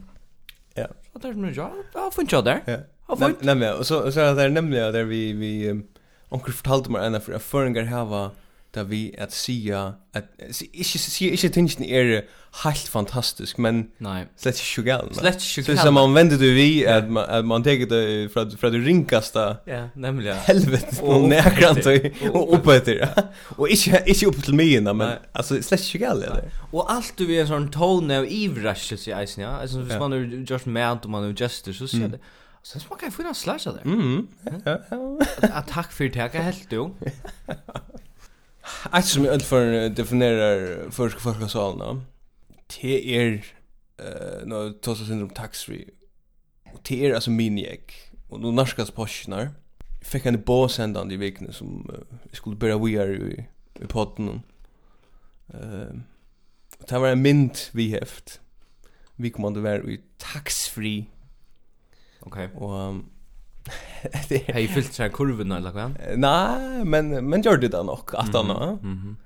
Speaker 2: Ja.
Speaker 3: at det er noe jobb, jeg har funnet jobb der.
Speaker 2: Ja.
Speaker 3: Og
Speaker 2: Nej,
Speaker 3: folk-
Speaker 2: nej men och så så är det nämligen där vi vi um, onkel fortalte mig ena för att föringar hava där vi att sia att inte sia inte tingen är er helt fantastisk men
Speaker 3: Nei,
Speaker 2: slett sjukal.
Speaker 3: slett ikke
Speaker 2: Så som man vänder du vi att man att man tar det från från det rinkaste
Speaker 3: Ja, nemlig, ja.
Speaker 2: helvetet
Speaker 3: Og
Speaker 2: och näkrant
Speaker 3: oppetter.
Speaker 2: och uppåt. Och inte inte upp till mig men
Speaker 3: Nej.
Speaker 2: alltså slett sjukal är er det.
Speaker 3: Og alt du er en sånn tone av ivraskelse i eisen, ja. Altså, hvis
Speaker 2: Ja.
Speaker 3: man er just mad og man er jester, så sier det. Så man kan få en slash av det.
Speaker 2: Mm. Ja, ja.
Speaker 3: Ja, takk for det, jeg er helt jo.
Speaker 2: Ett som öll för definierar förska förska salen. T är er, eh nå tossa syndrom tax free. Och T är alltså miniek och då narskas poschnar. Fick en båsändan i veckan som eh, vi skulle börja we are i, i podden. Ehm det var en mint vi heft. Vi kom att vara i tax free
Speaker 3: Ok.
Speaker 2: och um, det
Speaker 3: Hei, fyllt seg kurven eller hva?
Speaker 2: Nej, men men gjorde det nog att han. Mm
Speaker 3: Mhm.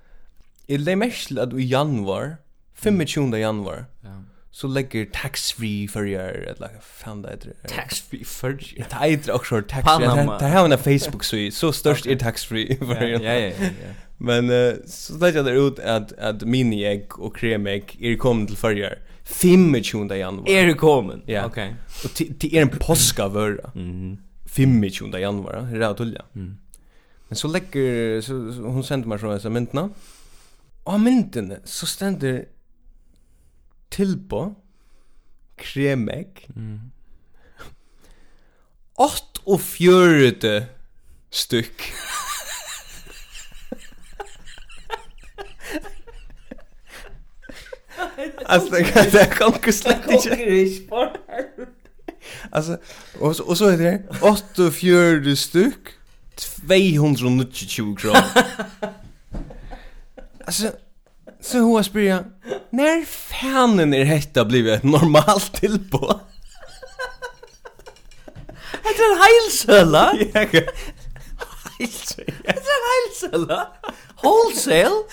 Speaker 2: Jeg legger mest til at i januar,
Speaker 3: Mm.
Speaker 2: 25. januar,
Speaker 3: Ja.
Speaker 2: så legger tax-free for jer, eller hva faen det heter.
Speaker 3: Tax free for you.
Speaker 2: Det heter også tax-free.
Speaker 3: er? Panama.
Speaker 2: Det- Det har en Facebook-side, så størst er tax-free for
Speaker 3: Ja,
Speaker 2: jer.
Speaker 3: ja, ja. ja.
Speaker 2: Men eh, så legger det ut at, at mini-egg og krem-egg er kommet til for jer 25. januar.
Speaker 3: Er du kommet?
Speaker 2: Ja.
Speaker 3: Ok.
Speaker 2: Og til til er en påskavøre.
Speaker 3: Mhm.
Speaker 2: 25. januar, det er tulja. Mm. Men så legger, så, så, hun sendte meg så disse myntene. Og av myntene så stender tilbå, kremegg, mm. 48 stykk. Alltså det- det kan ju slett inte. Alltså och så, och så är det 84 styck 290 kronor. alltså så hur jag spyr När fanen är detta blivit ett normalt tillbå?
Speaker 3: Hetta er heilsøla.
Speaker 2: Jag
Speaker 3: Hetta er heilsøla. Wholesale.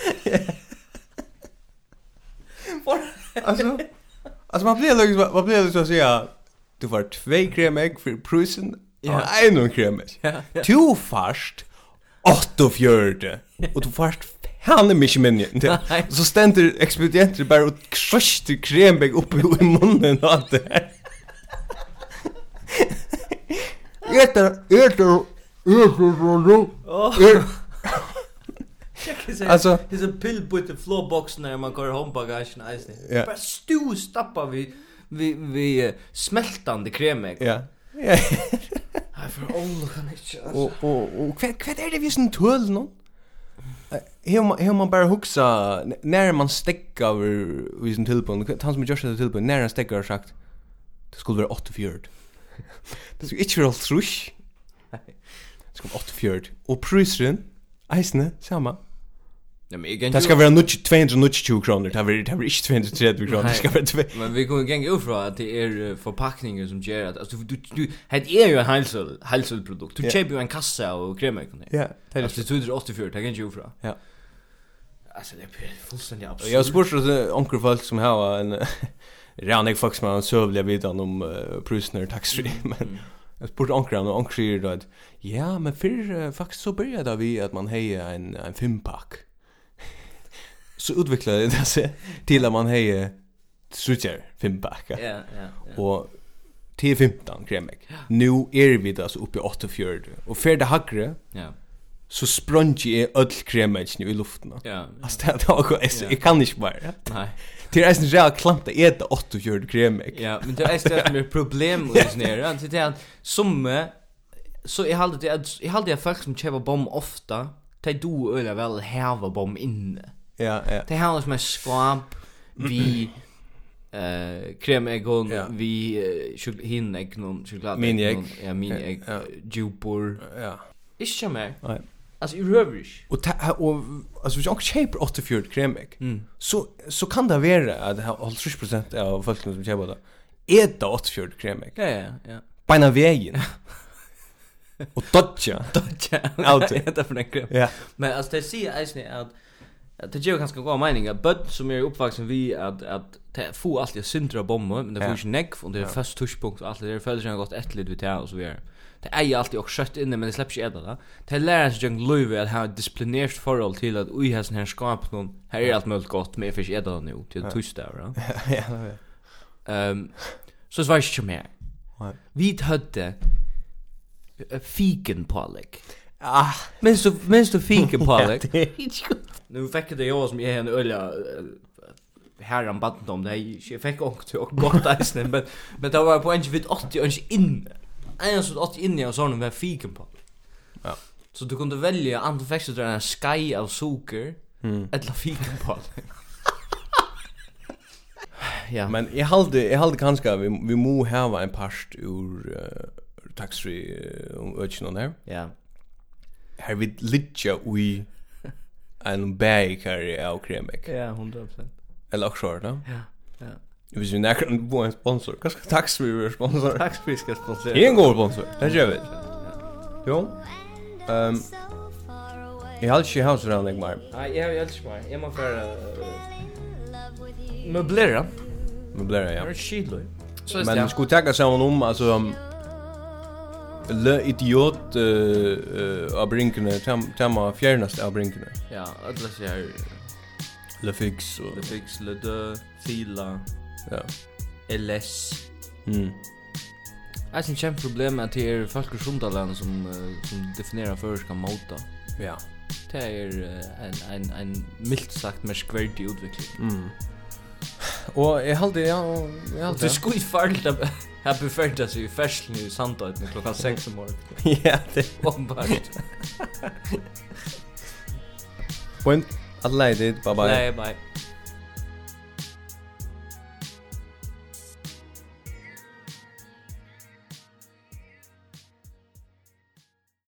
Speaker 2: Alltså Alltså man blir liksom man blir liksom så ja du får två kremägg för prisen
Speaker 3: Ja.
Speaker 2: och en och kremägg.
Speaker 3: Ja, ja.
Speaker 2: Du fast åtta och fjörde och du fast fan är mycket mindre.
Speaker 3: Nej.
Speaker 2: Så ständer expedienter bara och kröster kremägg upp i munnen och allt det här. Äter, äter, äter, Alltså-
Speaker 3: det är en pillbutt i flowboxen när man går hem bagagen eisen.
Speaker 2: Ja.
Speaker 3: Bara stu stappa vi vi vi eh, smältande kremägg.
Speaker 2: Ja. Ja.
Speaker 3: Nej för all kan inte.
Speaker 2: Och och och kvad kvad är er det vi sån tull någon? Hur man hur man bara huxa när man stäcker över vi sån tull på han som just det tull på när han stäcker har sagt det skulle vara 84. Det skulle inte vara trusch. Det skulle vara 84 och prisen Eisne, samma.
Speaker 3: Nej men igen.
Speaker 2: Det ska vara 290 kronor, det blir det blir inte 230 kronor, det ska vara två.
Speaker 3: Men vi kommer gänga ut från att det är eh, förpackningar som gör att alltså du du det är ju en hälsol hälsolprodukt. Du
Speaker 2: Ja.
Speaker 3: köper ju en kassa och kremägg. och det.
Speaker 2: Ja, det är
Speaker 3: Alltså det är 84, det kan ju ufra.
Speaker 2: Ja.
Speaker 3: Alltså det är fullständigt
Speaker 2: Och Jag
Speaker 3: absurt.
Speaker 2: spurs att onkel folk som har en Rannig folk som har en sövliga vidan om uh, prusner taxfree
Speaker 3: Mm,
Speaker 2: men jag spurs onkel och onkel säger då att ja men för uh, faktiskt så började det vi att man hejer en, en fempack så utvecklade det sig till att man hejer sutjer fempack
Speaker 3: Ja, ja. ja.
Speaker 2: och till 15 kremek nu är vi då så uppe i 84 och för det hackre
Speaker 3: Ja.
Speaker 2: så sprungi är öll kremek i luften
Speaker 3: Ja.
Speaker 2: Alltså det har gått, jag kan inte bara.
Speaker 3: Nej.
Speaker 2: Det är nästan jävla klamt att äta 84 kremek.
Speaker 3: Ja, men det är istället som är problem och just nere. Det är att som så jag hade det att jag hade folk som köper bomb ofta. Det du eller väl häva bomb inne.
Speaker 2: Ja, ja.
Speaker 3: Det här som är skvamp vi eh kremegon
Speaker 2: Ja.
Speaker 3: vi eh, hinäggon choklad
Speaker 2: Miniägg.
Speaker 3: ja miniägg
Speaker 2: Ja.
Speaker 3: jupor
Speaker 2: Ja.
Speaker 3: Ikke mer.
Speaker 2: Nej.
Speaker 3: Alltså i rövrish.
Speaker 2: Och ta, och alltså vi också köper 84 kremek.
Speaker 3: Mm.
Speaker 2: Så så kan det vara att ha 80% av folk som köper det. Äta 84 kremek.
Speaker 3: Ja ja ja.
Speaker 2: Bena vägen. Och dodja. Out.
Speaker 3: Allt det för den krem.
Speaker 2: Ja.
Speaker 3: er Men alltså det ser jag inte att att det gör ganska goda meningar but som är uppvuxen vi att att det får alltid syndra bomber men det
Speaker 2: Ja.
Speaker 3: får ju neck och det är fast touchpunkt och allt det där följs jag gått ett litet där och så vidare. Det är ju alltid också skött inne men det släpps ju äta det. Det lär sig jag löve att ha ett disciplinerat förhåll till att oj här sån här skap någon här är er allt möjligt gott men jag får inte äta det nu till torsdag va.
Speaker 2: Ja.
Speaker 3: Ehm så svarar jag inte mer.
Speaker 2: Nej.
Speaker 3: Vi hade fiken eh, på Alec.
Speaker 2: Ah,
Speaker 3: Minns du, minns du fiken på Alec?
Speaker 2: det er är inte
Speaker 3: Nu fick det jag som är en ölja eh, herran band om det här. Jag fick ångt och gott eisne men, men det var på en vid 80 öns inne En som 80 inne och sån med fiken på
Speaker 2: Ja.
Speaker 3: Så du kunde välja antingen fick du en sky av socker
Speaker 2: Mm.
Speaker 3: eller fiken på Ja,
Speaker 2: Men jag hade jag hade kanske vi vi må ha en past ur uh, taxfree uh, öchnon här.
Speaker 3: ja,
Speaker 2: Här vid litja ui en bäkare av kremek.
Speaker 3: ja, 100%.
Speaker 2: Eller också, no?
Speaker 3: Ja, ja.
Speaker 2: Hvis vi nekker en bo en sponsor, hva skal taks vi være sponsor?
Speaker 3: Tack för att jag sponsrar.
Speaker 2: Det er en god sponsor, det gjør vi. Jo, um,
Speaker 1: so far away
Speaker 2: jeg har ikke hans rann jeg mer,
Speaker 3: Nej, jag jag älskar mig. Jag måste
Speaker 2: eh,
Speaker 3: föra
Speaker 1: in love with you.
Speaker 3: möblera.
Speaker 2: men blir det, ja.
Speaker 3: Är skidloj. Så
Speaker 2: Men vi
Speaker 3: det.
Speaker 2: skulle takke sammen om, altså, um, Le idiot uh, uh, av brinkene, tema fjernast av brinkene.
Speaker 3: Ja, alla så här
Speaker 2: Le fix og...
Speaker 3: the fix le de fila
Speaker 2: Ja.
Speaker 3: LS.
Speaker 2: Mm.
Speaker 3: Jag syns kämpa problem att det är folk i Sundaland som eh, som definierar förska mota.
Speaker 2: Ja.
Speaker 3: Det är eh, en en en milt sagt mer skvärdig utveckling.
Speaker 2: Mm. Og jeg halde, ja, og jeg halde.
Speaker 3: Det skulle ju fallt att här befärdas ju färslen i Sandöjden klockan 6 om morgonen.
Speaker 2: Ja, det
Speaker 3: Bombart.
Speaker 2: Point. Adelaide, bye bye.
Speaker 3: Nej, bye.